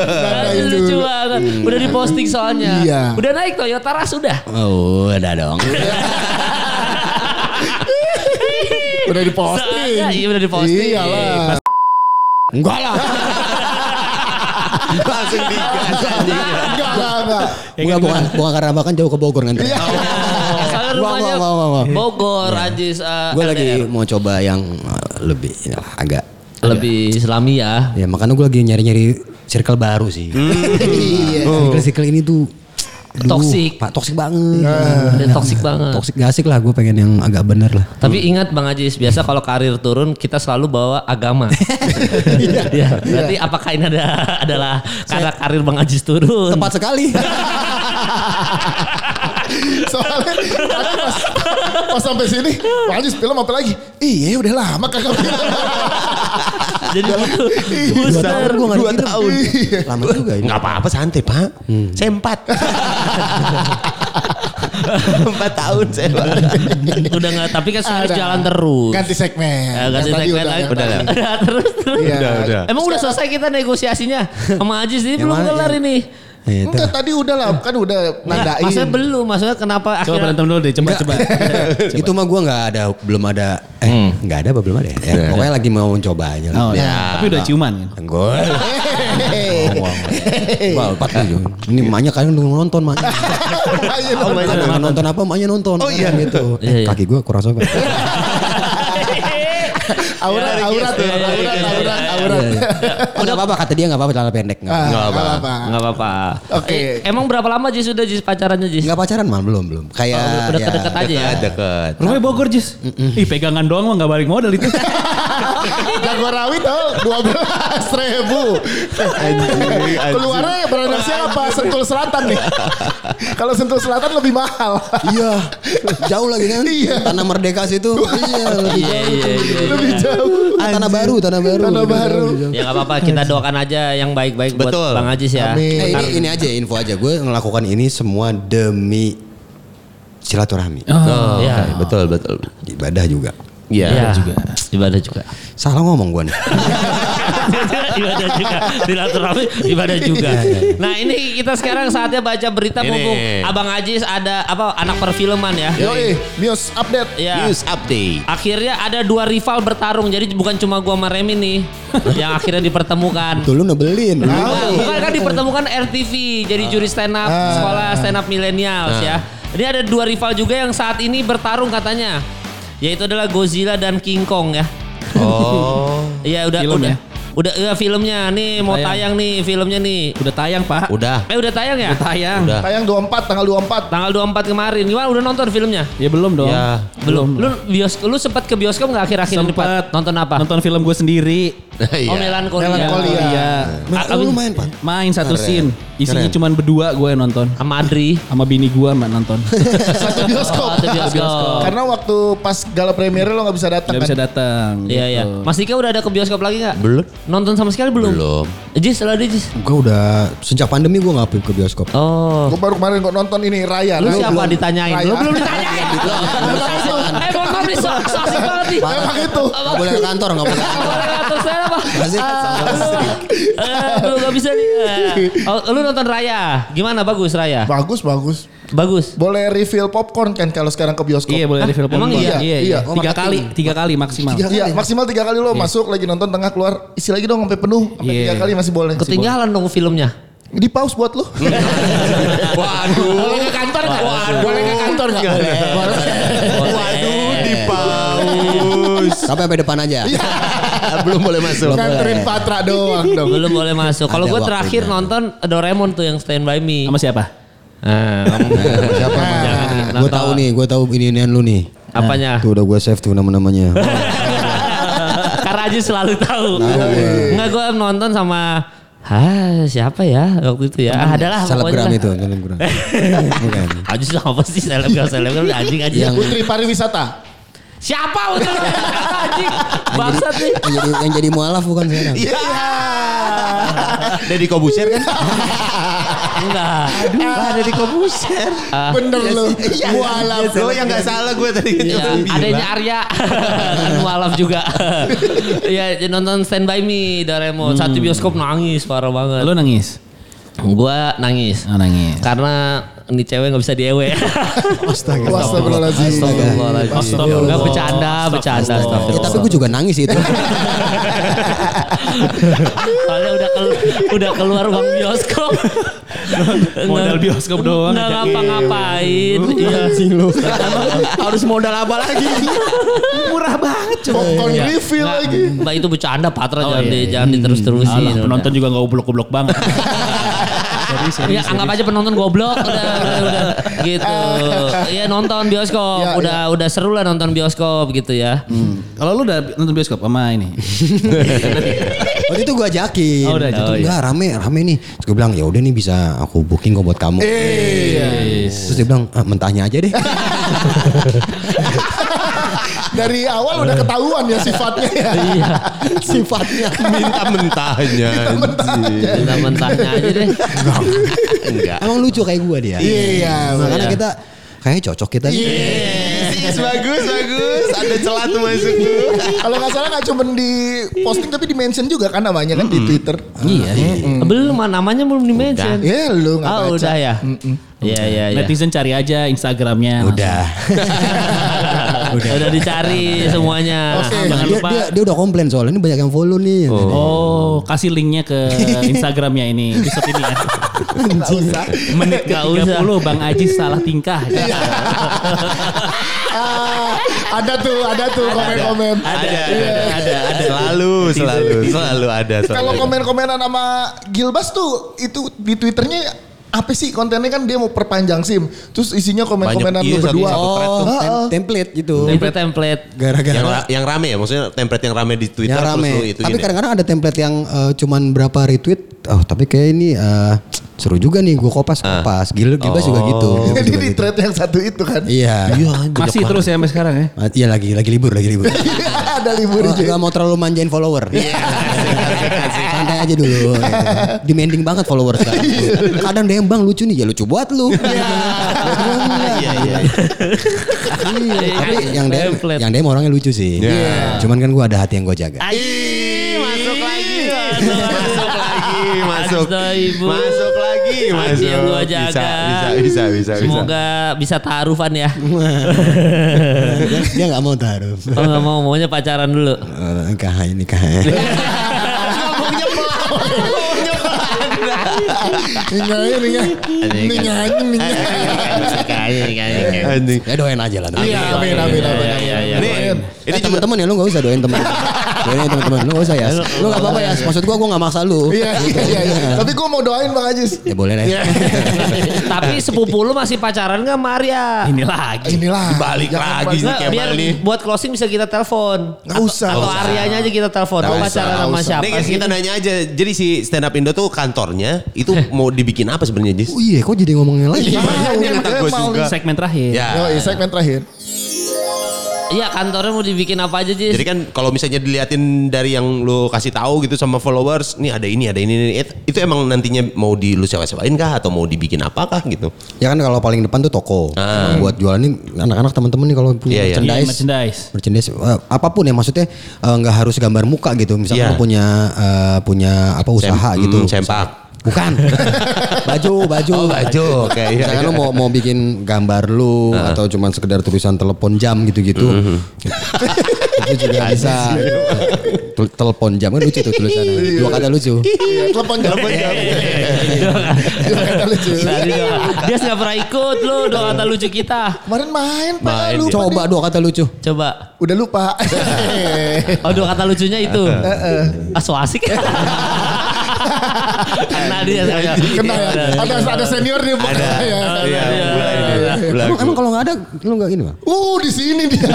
S2: Nandain
S5: Lucu
S2: dulu.
S5: banget.
S1: Iya.
S5: Udah diposting soalnya.
S2: Iya.
S5: Udah naik Toyota Rush udah.
S1: Oh, udah dong.
S2: Udah diposting.
S5: Soalnya, iya, udah diposting. Iya.
S2: Iyalah.
S1: Enggak lah.
S3: Langsung digas anjing.
S2: Enggak, enggak, enggak.
S1: Enggak bukan bukan karena bahkan jauh ke Bogor nanti.
S2: Iya.
S5: Oh,
S1: Wah,
S5: soalnya rumahnya
S1: wah, wah, wah.
S5: Bogor, Ajis, eh,
S1: Gue lagi
S5: LDR.
S1: mau coba yang uh, lebih ya, agak
S5: lebih Islami ya.
S1: ya makanya gue lagi nyari-nyari circle baru sih.
S2: Iya.
S1: Circle-circle ini tuh aduh,
S5: Toxic.
S1: Pak toksik banget.
S5: Udah toksik banget.
S1: Toksik gak asik lah gue pengen yang agak bener lah.
S5: Tapi ingat Bang Ajis, biasa kalau karir turun kita selalu bawa agama. Iya. Berarti apakah ini ada adalah karena karir Bang Ajis turun?
S1: Tepat sekali.
S2: Soalnya tadi pas, pas sampai sini, Bang Ajis film apa lagi? Iya udah lama kagak Iya. film.
S5: Jadi gitu. butuh
S1: Dua
S5: booster.
S1: tahun gue gak
S3: Dua
S1: dikirim.
S3: tahun.
S2: Iya.
S1: Lama juga ini.
S3: Nggak apa-apa santai pak. Saya empat. empat tahun saya pak.
S5: Udah nggak, tapi kan harus
S2: Ada.
S5: jalan terus.
S2: Ganti segmen.
S5: Eh,
S2: Yang tadi
S5: ganti segmen
S2: udah,
S5: lagi.
S2: yang tadi.
S5: Udah, terus terus.
S2: Iya.
S3: Udah, udah.
S5: Emang udah selesai kita negosiasinya sama Ajis ini
S1: Yang
S5: belum
S1: mana?
S5: kelar ini.
S1: Ya, itu.
S2: Enggak tadi udah lah, kan udah
S5: Nggak,
S2: nandain.
S5: maksudnya belum, maksudnya kenapa
S4: Coba
S5: akhirnya
S4: berantem dulu deh, coba coba.
S1: Itu mah gue nggak ada, belum ada, eh
S5: Hmm.
S1: nggak ada apa belum ada ya? ya? Pokoknya lagi mau mencoba aja lah.
S4: Oh, Tapi udah ciuman kan.
S1: Gue. Wah, empat tujuh. Ini emaknya kadang nunggu nonton maknya.
S2: Ayo,
S1: Kadang nonton apa emaknya nonton. Oh iya. Gitu.
S5: Iya,
S1: Eh,
S5: iya.
S1: kaki gue kurang sopan.
S2: Aurat, aurat,
S5: iya, iya,
S2: aurat,
S5: iya,
S2: aurat,
S5: iya,
S2: aurat.
S1: Udah apa-apa kata dia nggak apa-apa celana pendek.
S2: Ah,
S1: Nggak
S2: Nggak apa-apa.
S5: Nggak apa-apa.
S2: Oke.
S5: Eh, emang berapa lama Jis sudah Jis pacarannya Jis?
S1: Nggak pacaran mah belum belum. Kayak
S5: Oh, udah dekat-dekat aja ya.
S3: Deket.
S4: Rumahnya Bogor, Jis. Ih, pegangan doang mah gak balik modal itu.
S2: Jago rawit dong, dua belas ribu.
S3: Anjing, Iya, anjing.
S2: Keluarnya ya brand siapa? Sentul Selatan nih. Kalau Sentul Selatan lebih mahal.
S1: Iya. Jauh lagi kan.
S2: Iya.
S1: Tanah Merdeka situ. Iya. lebih
S5: Iya,
S1: jauh.
S5: iya, iya.
S2: lebih jauh.
S1: Tanah baru, tanah baru.
S2: Tanah
S1: Lebih jauh,
S2: baru.
S1: lebih jauh.
S5: Ya nggak apa-apa, kita doakan aja yang baik-baik buat
S3: Betul.
S5: Bang Ajis ya.
S2: Amin.
S1: Eh, ini, ini aja info aja gue ngelakukan ini semua demi silaturahmi
S5: Oh,
S3: Oke,
S5: ya.
S3: Betul betul.
S1: ibadah juga
S3: Iya.
S5: Iya. juga. Ibadah juga.
S1: salah ngomong gue nih
S5: ibadah juga. Silaturahmi ibadah juga. Nah, ini kita sekarang saatnya baca berita
S3: Ini.
S5: mumpung Abang Ajis ada apa anak perfilman ya.
S2: Yoi, news update.
S5: Ya.
S3: News update.
S5: Akhirnya ada dua rival bertarung. Jadi bukan cuma gua sama Remi nih yang akhirnya dipertemukan.
S1: tuh lu nebelin Lu-
S5: Bukan, bukan kan dipertemukan RTV jadi juri stand up sekolah stand up milenials ya. Ini ada dua rival juga yang saat ini bertarung katanya. Yaitu adalah Godzilla dan King Kong ya.
S3: Oh.
S5: Iya udah
S4: Film
S5: udah.
S4: ya?
S5: Udah eh, filmnya nih mau tayang
S4: Tayang.
S5: nih filmnya nih.
S4: Udah tayang Pak.
S3: Udah.
S5: Eh udah tayang ya?
S4: Udah tayang.
S3: Udah.
S2: Tayang 24 tanggal 24.
S5: Tanggal 24 kemarin. Gimana udah nonton filmnya?
S4: Ya belum dong.
S3: Ya.
S5: Belum. Lu bios lu sempat ke bioskop nggak akhir-akhir ini, Pat?
S4: Sempet.
S5: Nonton apa?
S4: Nonton film gue sendiri.
S3: Iya.
S4: Ya, iya.
S5: Oh Melankolia.
S2: Melankolia.
S1: Main-
S4: Abis-
S1: lu main, Pan?
S4: Main satu
S1: Keren.
S4: scene. Isinya
S1: Keren.
S4: cuma berdua gue yang nonton.
S5: Sama Adri.
S4: Sama bini gue mbak nonton.
S2: Satu
S5: Oh,
S2: bioskop.
S5: atau bioskop.
S2: Karena waktu pas gala premiere lo nggak bisa datang
S4: Gak
S2: kan.
S4: bisa datang. gitu.
S5: Iya iya. Mas Dika udah ada ke bioskop lagi nggak?
S3: Gitu. Belum.
S5: Nonton sama sekali belum?
S3: Belum.
S5: Jis, lo ada Jis?
S1: Gue udah sejak pandemi gue nggak ke bioskop.
S5: Oh.
S2: Gue baru kemarin kok nonton ini Raya.
S5: Lu
S2: Lu
S5: siapa
S2: belum-
S5: ditanyain?
S2: Raya.
S5: Lu belum ditanyain. Lu- lu- lu- Eh mohon maaf nih, so- so asik banget nih.
S2: Emang itu.
S1: Nggak boleh ke kantor, nggak boleh. ke kantor.
S5: Boleh ngatur saya apa?
S1: Masih
S5: Aduh gak bisa nih. Eh, oh, Lu nonton Raya. Gimana bagus Raya?
S2: Bagus bagus.
S5: Bagus.
S2: Boleh refill popcorn kan kalau sekarang ke bioskop.
S4: Iya boleh
S5: Hah?
S4: di film
S5: Emang
S4: Popcorn.
S2: iya?
S4: iya,
S2: Iya.
S4: iya.
S2: Oh,
S4: Tiga
S1: marketing.
S4: kali, tiga kali maksimal.
S1: Tiga
S2: Iya
S1: kali.
S2: maksimal tiga kali lo masuk lagi nonton tengah keluar isi lagi dong sampai penuh sampai
S4: Iya.
S2: tiga kali masih boleh.
S5: Ketinggalan dong filmnya.
S2: Di pause buat lo.
S3: Waduh.
S5: Boleh ke kantor nggak?
S3: Waduh.
S5: Boleh ke kantor nggak? Boleh.
S3: Waduh di paus.
S1: Tapi sampai depan aja.
S3: Belum boleh masuk.
S2: Nganterin Kan Patra doang dong.
S5: Belum boleh masuk. Kalau
S1: Ada
S5: gue
S1: waktu
S5: terakhir
S1: itu.
S5: nonton Doraemon tuh yang Stand By Me.
S4: Sama siapa?
S5: Ah, kamu-
S1: Siapa?
S5: Jangan. Ah.
S1: Gue Nah, tahu nih, gue tahu ini inian lu nih.
S5: Apanya?
S1: Nah, Tuh udah gue save tuh nama-namanya.
S5: Karena Aji selalu tahu.
S1: Nah, iya.
S5: Enggak gue nonton sama Hah siapa ya waktu itu ya? Ah, adalah
S1: Selebgram
S5: pokoknya
S1: itu,
S5: lah.
S1: selebgram. Bukan.
S5: Aji sama apa sih selebgram selebgram anjing anjing.
S1: Yang-
S2: Putri pariwisata.
S5: Siapa waktu itu? Siapa, anjing? Bangsat nih.
S1: Yang jadi yang jadi mualaf bukan sekarang.
S3: Iya. Deddy Kobusier kan?
S5: Enggak.
S3: Ah, Deddy Kobusier.
S2: Bener lo.
S3: Iya.
S2: Iya. Mualaf.
S3: Lo yang gak salah gue tadi.
S5: Iya, adanya Arya Dan mualaf juga. Iya, jadi nonton Stand By Me Doraemon. Satu bioskop nangis parah banget.
S4: Lu nangis?
S5: Gua nangis.
S4: Oh, nangis.
S5: Karena ini cewek nggak bisa diewe.
S2: Astagfirullahaladzim.
S5: Astagfirullahaladzim.
S4: Astagfirullah.
S5: Nggak bercanda, bercanda.
S1: Ya,
S5: Astagfirullah.
S1: tapi gue juga nangis itu.
S5: Soalnya udah kelu- udah keluar uang bioskop.
S4: Modal bioskop doang.
S5: Nggak
S4: Ajakin.
S5: ngapa-ngapain. Iya.
S3: Harus modal apa lagi?
S4: Murah banget coba.
S2: Popcorn refill
S5: Nah.
S2: lagi.
S5: Mbak itu bercanda Patra jangan,
S4: iya,
S5: di-
S4: iya.
S5: jangan diterus-terusin.
S4: Alah,
S5: udah.
S4: penonton juga gak goblok-goblok banget. Serius,
S5: Ya
S4: serius,
S5: anggap
S4: serius.
S5: aja penonton goblok udah, udah, udah. gitu. Ya nonton bioskop
S2: Ya,
S5: udah udah seru lah nonton bioskop gitu ya.
S4: Hmm. Kalau lu udah nonton bioskop sama ini.
S1: Waktu itu gue ajakin.
S4: Oh, udah ajakin.
S1: Enggak, rame, rame nih. Terus gue bilang, ya udah nih bisa aku booking kok buat kamu.
S2: Iya.
S1: Terus dia bilang, ah, mentahnya aja deh.
S2: Dari awal udah ketahuan ya sifatnya ya.
S5: Iya.
S1: Sifatnya.
S3: Iya. Minta mentahnya. anjing.
S5: Kita mentahnya aja deh.
S3: Enggak.
S1: Emang lucu kayak gue dia.
S2: Iya.
S1: Makanya kita kayaknya cocok kita nih.
S3: Yes, Iya, bagus, bagus. Ada celah tuh masuk tuh.
S2: Kalau nggak salah nggak cuma di posting tapi di mention juga kan namanya kan di Twitter.
S4: Iya.
S5: Belum ah, namanya belum di mention.
S2: Ya lu nggak baca.
S5: Oh udah ya. Iya iya iya.
S4: Netizen cari aja Instagramnya.
S1: Udah.
S5: udah. dicari semuanya.
S2: Oke.
S4: Jangan
S1: Dia,
S4: lupa.
S1: dia, dia udah komplain soalnya ini banyak yang follow nih.
S4: Oh, kasih linknya ke Instagramnya ini episode ini ya. Menit ke
S5: Nggak usah.
S4: 30 Bang Aji salah tingkah.
S2: Ah, ada tuh, ada tuh komen-komen.
S3: Ada, ada, ada, ada. Selalu, selalu, selalu ada. selalu
S2: Kalau
S3: ada.
S2: komen-komenan sama Gilbas tuh itu di Twitternya apa sih kontennya kan dia mau perpanjang SIM. Terus isinya komen-komenan
S3: Banyak, iya,
S2: lu
S3: satu-
S2: berdua. Oh,
S3: satu thread tuh.
S1: tem- template gitu.
S5: Itu template.
S1: Gara-gara
S3: yang, ra- yang rame ya maksudnya template yang rame di Twitter
S1: yang rame.
S3: terus lu ya. itu
S1: tapi
S3: ini.
S1: kadang-kadang ada template yang eh, cuman berapa retweet. Oh, tapi kayak ini eh, seru juga nih gue kopas kopas. Gil Gilbas juga gitu. Gilbas
S2: Oh. Jadi
S1: juga
S2: di
S1: gitu.
S2: thread yang satu itu kan.
S1: Iya.
S4: Masih terus ya sampai sekarang ya.
S1: Ah, Iya lagi lagi libur lagi libur.
S2: ada
S1: Gua
S2: libur juga.
S1: nggak mau terlalu manjain follower. Santai aja dulu. gitu. Demanding banget follower sekarang. Kadang dia yang, bang lucu nih ya lucu buat lu. Iya. Iya. Tapi yang DM
S5: Template.
S1: yang DM orangnya lucu sih. Cuman kan gua ada hati yang gua jaga.
S5: Ih, masuk lagi.
S3: masuk lagi, masuk.
S5: Astaghfirullah.
S3: Masuk lagi,
S5: Hati
S3: masuk.
S5: yang gua
S3: Bisa,
S5: jaga.
S3: bisa, bisa, bisa. bisa.
S5: Semoga bisa taarufan ya.
S1: dia nggak mau taruh.
S5: Oh nggak mau, maunya pacaran dulu.
S1: Eh, Nikah ini nikah.
S3: Ngomongnya pelan, ngomongnya pelan.
S2: Ninggalin ninggal. Ninggalin ninggal.
S3: Anjing.
S1: Ya doain aja lah.
S2: Iya, amin amin amin.
S5: iya,
S2: amin.
S3: Ini,
S4: eh,
S3: ini
S1: Ini
S3: juga
S1: teman-teman ya lu gak usah doain teman. Doain teman-teman lu gak usah ya. Lu gak apa-apa ya. Maksud gua gua gak maksa lu. Gitu. Nah,
S2: Iya iya iya, iya. Tapi gue mau doain Bang Ajis.
S1: Ya boleh lah. ya.
S5: Tapi sepupu lu masih pacaran gak Maria?
S4: Ini lagi.
S2: Inilah.
S3: balik
S2: Jangan
S3: lagi nih
S5: Nggak,
S3: Kemal
S5: biar
S3: nih.
S5: buat closing bisa kita telepon.
S2: Nggak usah.
S5: Atau
S2: Nggak usah.
S5: Aryanya aja kita telepon. Lu
S2: usah,
S5: pacaran
S2: nggak
S5: sama
S2: usah.
S5: siapa
S3: Nih guys
S5: sih?
S3: kita nanya aja, jadi si stand up Indo tuh kantornya itu mau dibikin apa sebenarnya Jis?
S1: Oh iya kok jadi ngomongin lagi.
S2: Iya,
S3: Ini
S2: iya,
S3: kata
S2: iya,
S3: gue
S2: mau
S3: juga.
S4: Segmen terakhir.
S3: Ya.
S2: Yo, segmen terakhir.
S5: Iya kantornya mau dibikin apa aja Jis?
S3: Jadi kan kalau misalnya diliatin dari yang lu kasih tahu gitu sama followers, nih ada ini, ada ini, ini. It- itu emang nantinya mau di lu sewa-sewain kah atau mau dibikin apakah gitu?
S1: Ya kan kalau paling depan tuh toko.
S3: Ah.
S1: Buat jualan nih anak-anak teman-teman nih kalau punya
S3: Iya, iya.
S4: Iya,
S1: merchandise.
S4: merchandise.
S1: merchandise eh, apapun ya maksudnya eh, nggak harus gambar muka gitu misalnya
S3: Iya.
S1: lu punya eh, punya apa usaha
S3: Sem-
S1: gitu
S3: mm, sempak.
S1: bukan baju baju
S3: Oh, baju. Oke, iya,
S1: misalkan
S3: iya.
S1: lu mau mau bikin gambar lu atau cuman sekedar tulisan telepon jam gitu-gitu
S3: Mhm.
S1: itu juga bisa Tel- telepon jam kan lucu tuh tulisannya dua kata lucu
S2: Iya, Telepon jam. Telepon lucu.
S5: Tadi doang. Iya. Dia nggak pernah ikut lu doa kata lucu kita.
S2: Kemarin main, Pak.
S3: Main,
S2: Lupa
S1: coba
S2: nih.
S1: dua kata lucu
S5: Coba.
S2: Udah lupa.
S5: Oh doa kata lucunya itu.
S2: Eh,
S5: Ah so asik. Kenal dia.
S2: Kena ya. Ada ada senior di
S3: Ada.
S2: ya.
S3: Iya,
S5: Iya.
S3: mulai deh.
S1: emang,
S3: Belagu.
S1: emang kalau nggak ada lu nggak gini bang
S2: Uh, di sini dia.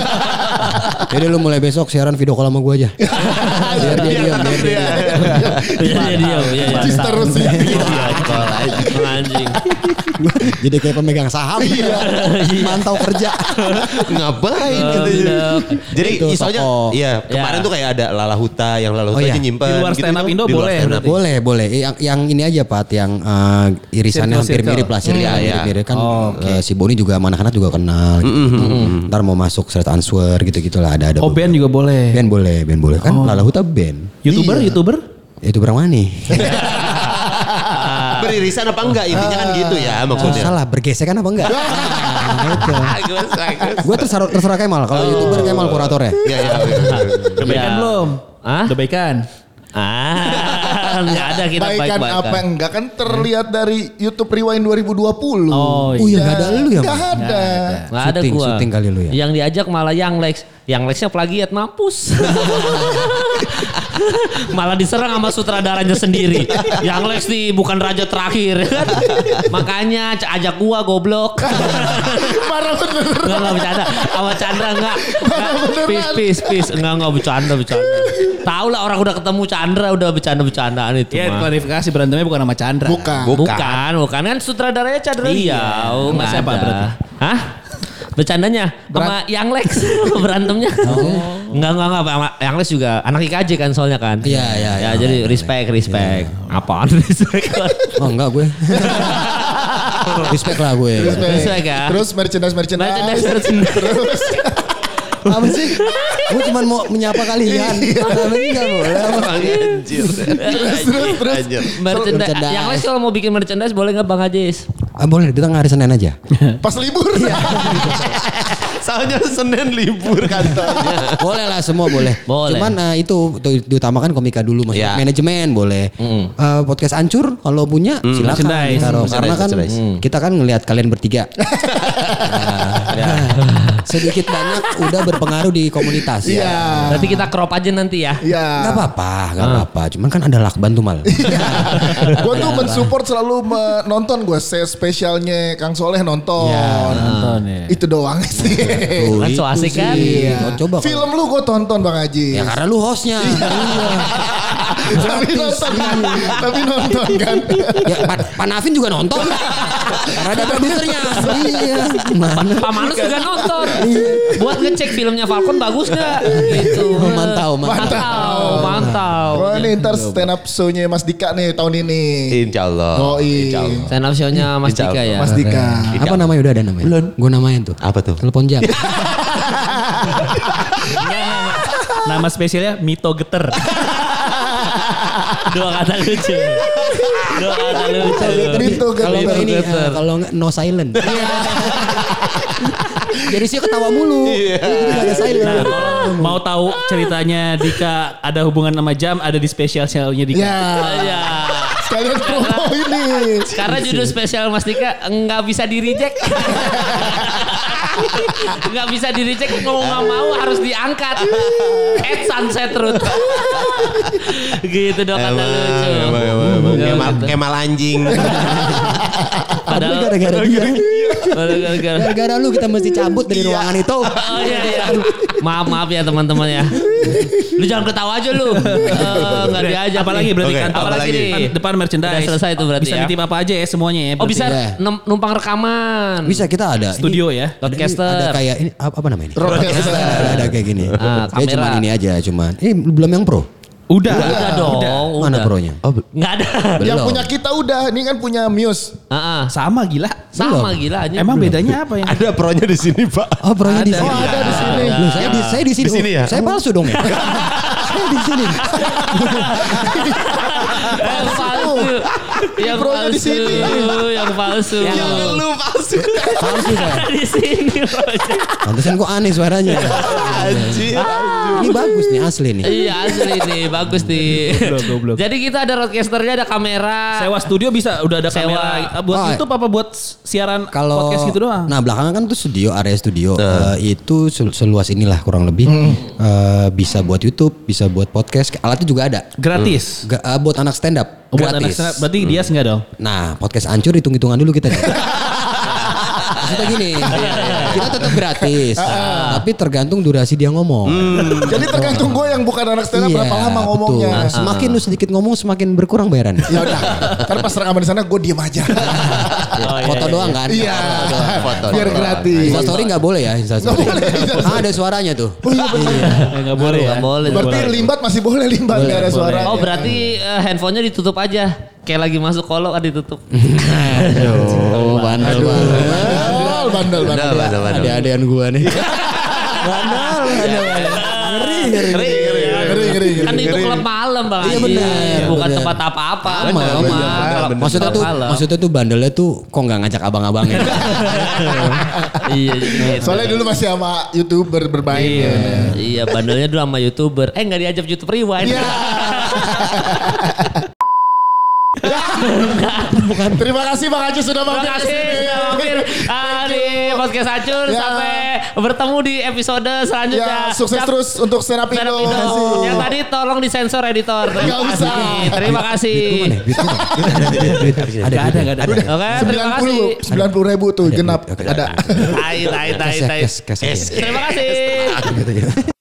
S1: jadi lu mulai besok siaran video call sama gue aja biar dia diam biar
S3: Iya,
S1: dia
S3: tetep dia.
S5: Iya dia diam. Iya iya.
S2: Cis terus ya. sih.
S5: Anjing.
S1: jadi kayak pemegang saham mantau kerja Ya
S3: Ngapain
S5: Oh,
S3: gitu.
S5: bener.
S3: Jadi
S1: Itu
S3: soalnya
S1: toko.
S3: iya, kemarin
S5: Ya.
S3: tuh kayak ada Lala Huta yang Lala
S1: Oh,
S3: Huta
S1: iya.
S3: aja nyimpen
S4: Di luar
S3: gitu
S4: stand up
S3: kan.
S4: Indo
S3: Di luar
S4: boleh
S3: stand up.
S4: berarti.
S1: boleh boleh yang yang ini aja Pat yang eh, irisannya
S4: Circle,
S1: hampir
S4: circle.
S1: mirip lah
S3: Iya,
S1: sirisan
S3: iya.
S1: mirip kan eh, si Boni juga sama anak-anak juga kenal gitu. ntar mau masuk straight answer gitu gitulah ada ada
S4: Oh band juga boleh.
S1: band boleh band boleh kan Lala Huta band
S4: Youtuber, youtuber.
S1: itu berapa nih
S3: Beririsan apa enggak intinya kan gitu ya maksudnya.
S1: salah bergesekan apa enggak nah, itu
S3: Bagus, bagus.
S1: gue terserah, terserah Kemal kalau youtuber Kemal kuratornya
S3: Iya, iya.
S4: Udah baikan
S5: Iya.
S4: belum?
S5: Hah?
S4: Udah baikan.
S5: Ah, nggak ada kita
S2: Baikan
S5: baik-baikan.
S2: apa enggak kan terlihat dari YouTube Rewind 2020.
S4: Oh,
S1: oh iya nggak ada lu ya
S2: Enggak
S1: Bang?
S2: ada.
S5: Nggak ada
S1: Syuting,
S5: gua.
S1: syuting kali lu ya.
S5: Yang diajak malah yang Lex. Yang Lexnya plagiat mampus. malah diserang sama sutradaranya sendiri. Yang Lex nih bukan raja terakhir. Makanya c- ajak gua goblok.
S2: Marah bener.
S5: Enggak enggak bercanda. Sama Chandra enggak.
S2: Marah beneran.
S5: Pis pis pis. Enggak enggak bercanda bercanda. Tahu lah orang udah ketemu Chandra udah bercanda-bercandaan itu
S1: Iya,
S4: Ya
S5: mah.
S4: klarifikasi berantemnya bukan sama Chandra.
S2: Bukan.
S5: Bukan. bukan, bukan kan sutradaranya Chandra
S4: Iya.
S5: Liau,
S4: Sama
S5: nggak
S4: siapa
S5: ada.
S4: berarti?
S5: Hah? Bercandanya sama Yang Lex berantemnya. Enggak enggak enggak sama Yang Lex juga anak IKJ kan soalnya kan.
S1: Oh. Iya, iya,
S5: Ya,
S1: iya.
S5: jadi respect respect. Apaan respect?
S1: oh enggak gue respect lah gue
S2: Terus,
S5: Terus, ya?
S2: terus merchandise merchandise.
S5: Merchandise, merchandise.
S2: Terus
S1: apa sih gue cuma mau menyapa kalian tapi nggak boleh
S3: Iya. Anjir.
S2: terus terus.
S3: Anjir.
S5: merchandise.
S1: Merchandise.
S5: Yang Lex kalau mau bikin merchandise boleh nggak Bang Ajis?
S1: Ah, boleh datang hari Senin aja.
S2: Pas libur.
S3: Soalnya Senin libur kan, kantornya.
S1: boleh lah semua boleh.
S5: Boleh.
S1: Cuman eh, itu tuh diutamakan komika dulu maksudnya.
S3: Ya.
S1: Manajemen boleh. Eh, podcast ancur kalau punya silakan
S4: Merchandise.
S1: ditaruh.
S3: Merchandise,
S1: Karena kan
S3: merchandise.
S1: kita kan ngelihat kalian bertiga. Nah, Sedikit banyak udah berpengaruh di komunitas.
S2: Iya.
S5: Berarti kita crop aja nanti ya.
S2: Iya.
S1: Gak apa-apa, gak apa-apa. Cuman kan ada lakban tuh mal.
S2: gue tuh mensupport selalu menonton gue spesialnya Kang Soleh nonton.
S4: Nonton ya.
S2: Itu doang sih.
S1: Tuh,
S5: Kan
S1: itu
S5: so asik
S1: sih.
S5: kan?
S2: Iya.
S1: Oh, Coba kalau-
S2: Film lu gue tonton Bang Haji.
S1: Ya karena lu hostnya. Iya.
S2: tapi nonton kan. tapi nonton kan.
S1: Ya, Pan- Panavin juga nonton. Karena ada produsernya. Iya. Mana?
S5: Pamanus juga nonton.
S1: Iya.
S5: Buat ngecek filmnya Falcon bagus nggak? Gitu.
S1: Oh, mantau,
S5: Mantau, mantau.
S2: Wah ini ntar stand up show-nya Mas Dika nih tahun ini.
S3: Insya Allah.
S2: Oh, iya.
S3: Insya Allah.
S5: Stand up show-nya Mas
S3: Insya
S5: Dika ya.
S2: Mas Dika.
S1: Apa namanya udah ada namanya? Belum. Gue namain tuh.
S3: Apa tuh?
S1: Telepon jam.
S4: Nama spesialnya Mito Geter.
S5: Dua kata lucu. Dua kata lucu.
S2: Gitu kan.
S1: kalau nggak ini, eh, kalau nggak no silent. Jadi sih ketawa mulu. Jadi nggak ada silent.
S4: Nah, kalau mau tahu ceritanya Dika ada hubungan sama jam ada di spesial show-nya Dika.
S2: Ya.
S5: Iya.
S2: Sekalian promo ini.
S5: Karena judul spesial Mas Dika nggak bisa di reject. nggak bisa di reject mau nggak mau harus diangkat. At sunset root. gitu dong kata
S3: Emang,
S5: lucu.
S3: emang, emang, emang. Kemal, kemal anjing.
S1: Padahal
S5: Padahal Oh,
S1: gara-gara dia.
S5: padahal Oh, gara-gara.
S1: Gara-gara lu kita mesti cabut dari ruangan itu.
S5: Oh iya iya. Maaf maaf ya teman-teman ya. Lu jangan ketawa aja lu. Eh, Nggak diajak.
S4: apalagi
S5: nih.
S4: berarti
S3: Oke,
S4: kan apalagi
S3: apalagi.
S4: di depan, depan merchandise.
S5: Udah selesai tuh berarti
S4: bisa
S5: ya.
S4: nitip apa aja ya semuanya ya.
S5: Oh bisa
S1: Iya.
S5: nem- numpang rekaman.
S1: Bisa kita ada ini-
S4: Studio ya.
S1: ada ini-
S5: Podcaster.
S1: Ada kayak ini apa, apa namanya ini?
S2: Roadcaster.
S1: Ada, ada kayak gini.
S5: Ah,
S1: Kayak
S5: kamera.
S1: cuman ini aja cuman. Ini belum yang pro.
S4: Udah.
S5: Udah dong. Udah.
S1: Mana pronya? Oh, belum.
S5: Nggak ada.
S2: Yang punya kita udah, ini kan punya Muse.
S5: Ah, ah.
S4: Sama gila.
S5: Sama gila aja.
S4: Emang bedanya apa ya?
S3: Ada pronya di sini pak.
S1: Oh, pronya di
S4: Ada.
S1: sini.
S4: Oh, ada
S2: di sini.
S1: Loh, saya di saya di sini. oh.
S3: Di sini ya?
S1: Saya palsu dong ya. saya di sini.
S5: yang palsu. Yang
S2: Bro-nya di
S5: palsu.
S2: sini.
S5: Yang palsu.
S3: Jangan lu palsu.
S1: Palsu saya.
S5: di sini. Roger.
S1: Pantesan kok aneh suaranya. ya.
S3: Anjing.
S1: ini bagus nih asli nih.
S5: Iya asli nih bagus nih.
S4: Goblok, goblok.
S5: Jadi kita ada roadcasternya ada kamera.
S4: Sewa studio bisa udah ada
S5: Sewa.
S4: kamera Ah, buat
S1: Oh,
S4: YouTube apa buat siaran
S1: Kalau
S4: podcast gitu doang.
S1: Nah, belakangan kan tuh studio area studio Eh, itu sel- seluas inilah kurang lebih Eh, bisa buat YouTube, bisa buat podcast. Alatnya juga ada.
S4: Gratis.
S1: Ga- eh, buat anak stand up
S4: Oh, buat anak
S1: gratis.
S4: stand up. berarti dia enggak dong.
S1: Nah, podcast hancur hitung-hitungan dulu kita. nih. Maksudnya gini,
S2: Iya,
S1: kita tetap gratis,
S2: Ah,
S1: tapi tergantung durasi dia ngomong.
S2: Jadi tergantung gue yang bukan anak stand up
S1: Iya,
S2: Hmm. berapa lama
S1: betul.
S2: ngomongnya. Ah,
S1: Nah, Ah, Semakin lu sedikit ngomong, semakin berkurang bayarannya.
S2: Ya udah, ntar pas rekaman di sana gue diem aja.
S1: foto doang kan?
S2: Iya,
S1: Foto doang.
S2: biar gratis.
S1: Insta story nggak boleh ya Insta story. Ah, ada suaranya tuh.
S4: Enggak boleh ya.
S5: Nggak boleh.
S2: Oh iya, Berarti limbat masih boleh limbat nggak ada suara.
S5: Oh berarti eh, handphonenya ditutup aja. Kayak lagi masuk kolok ada ditutup.
S1: Aduh, bandel banget.
S2: bandel, bandel, bandel. Iya,
S3: Waduh, waduh.
S1: Ada adean gua nih. bandel, bandel. Ngeri, ngeri.
S2: Ngeri, ngeri, ngeri.
S5: Kan itu klub malam bang.
S1: Iya,
S5: Haji.
S1: benar,
S5: Bukan
S1: benar.
S5: tempat apa-apa.
S1: Sama,
S5: Klub
S1: benar,
S5: malam.
S3: benar,
S5: Klub
S3: benar.
S1: Maksudnya tuh,
S5: malam.
S1: maksudnya tuh bandelnya tuh kok nggak ngajak abang-abangnya.
S5: Iya. gitu.
S2: Soalnya dulu masih sama youtuber bermain.
S5: Iya, iya bandelnya dulu sama youtuber. Eh nggak diajak YouTube Rewind.
S2: Iya. Terima kasih Bang Acu sudah
S5: Terima
S2: mampir.
S5: kasih sudah mampir ah, di ya, podcast Acun
S2: Ya.
S5: sampai bertemu di episode selanjutnya.
S2: Ya, sukses
S5: Cap-
S2: terus untuk stand up
S5: Stand
S2: Indo.
S5: up Indo. Yang tadi tolong disensor editor.
S2: Nggak usah.
S5: Terima kasih.
S1: Ada,
S4: Ada enggak ada.
S5: Oke, terima kasih.
S2: 90 90 ribu tuh genap
S1: Oke.
S2: ada.
S5: Tai, tai, tai,
S1: Kasih,
S5: tai.
S1: kasih, kasih.
S5: Terima kasih.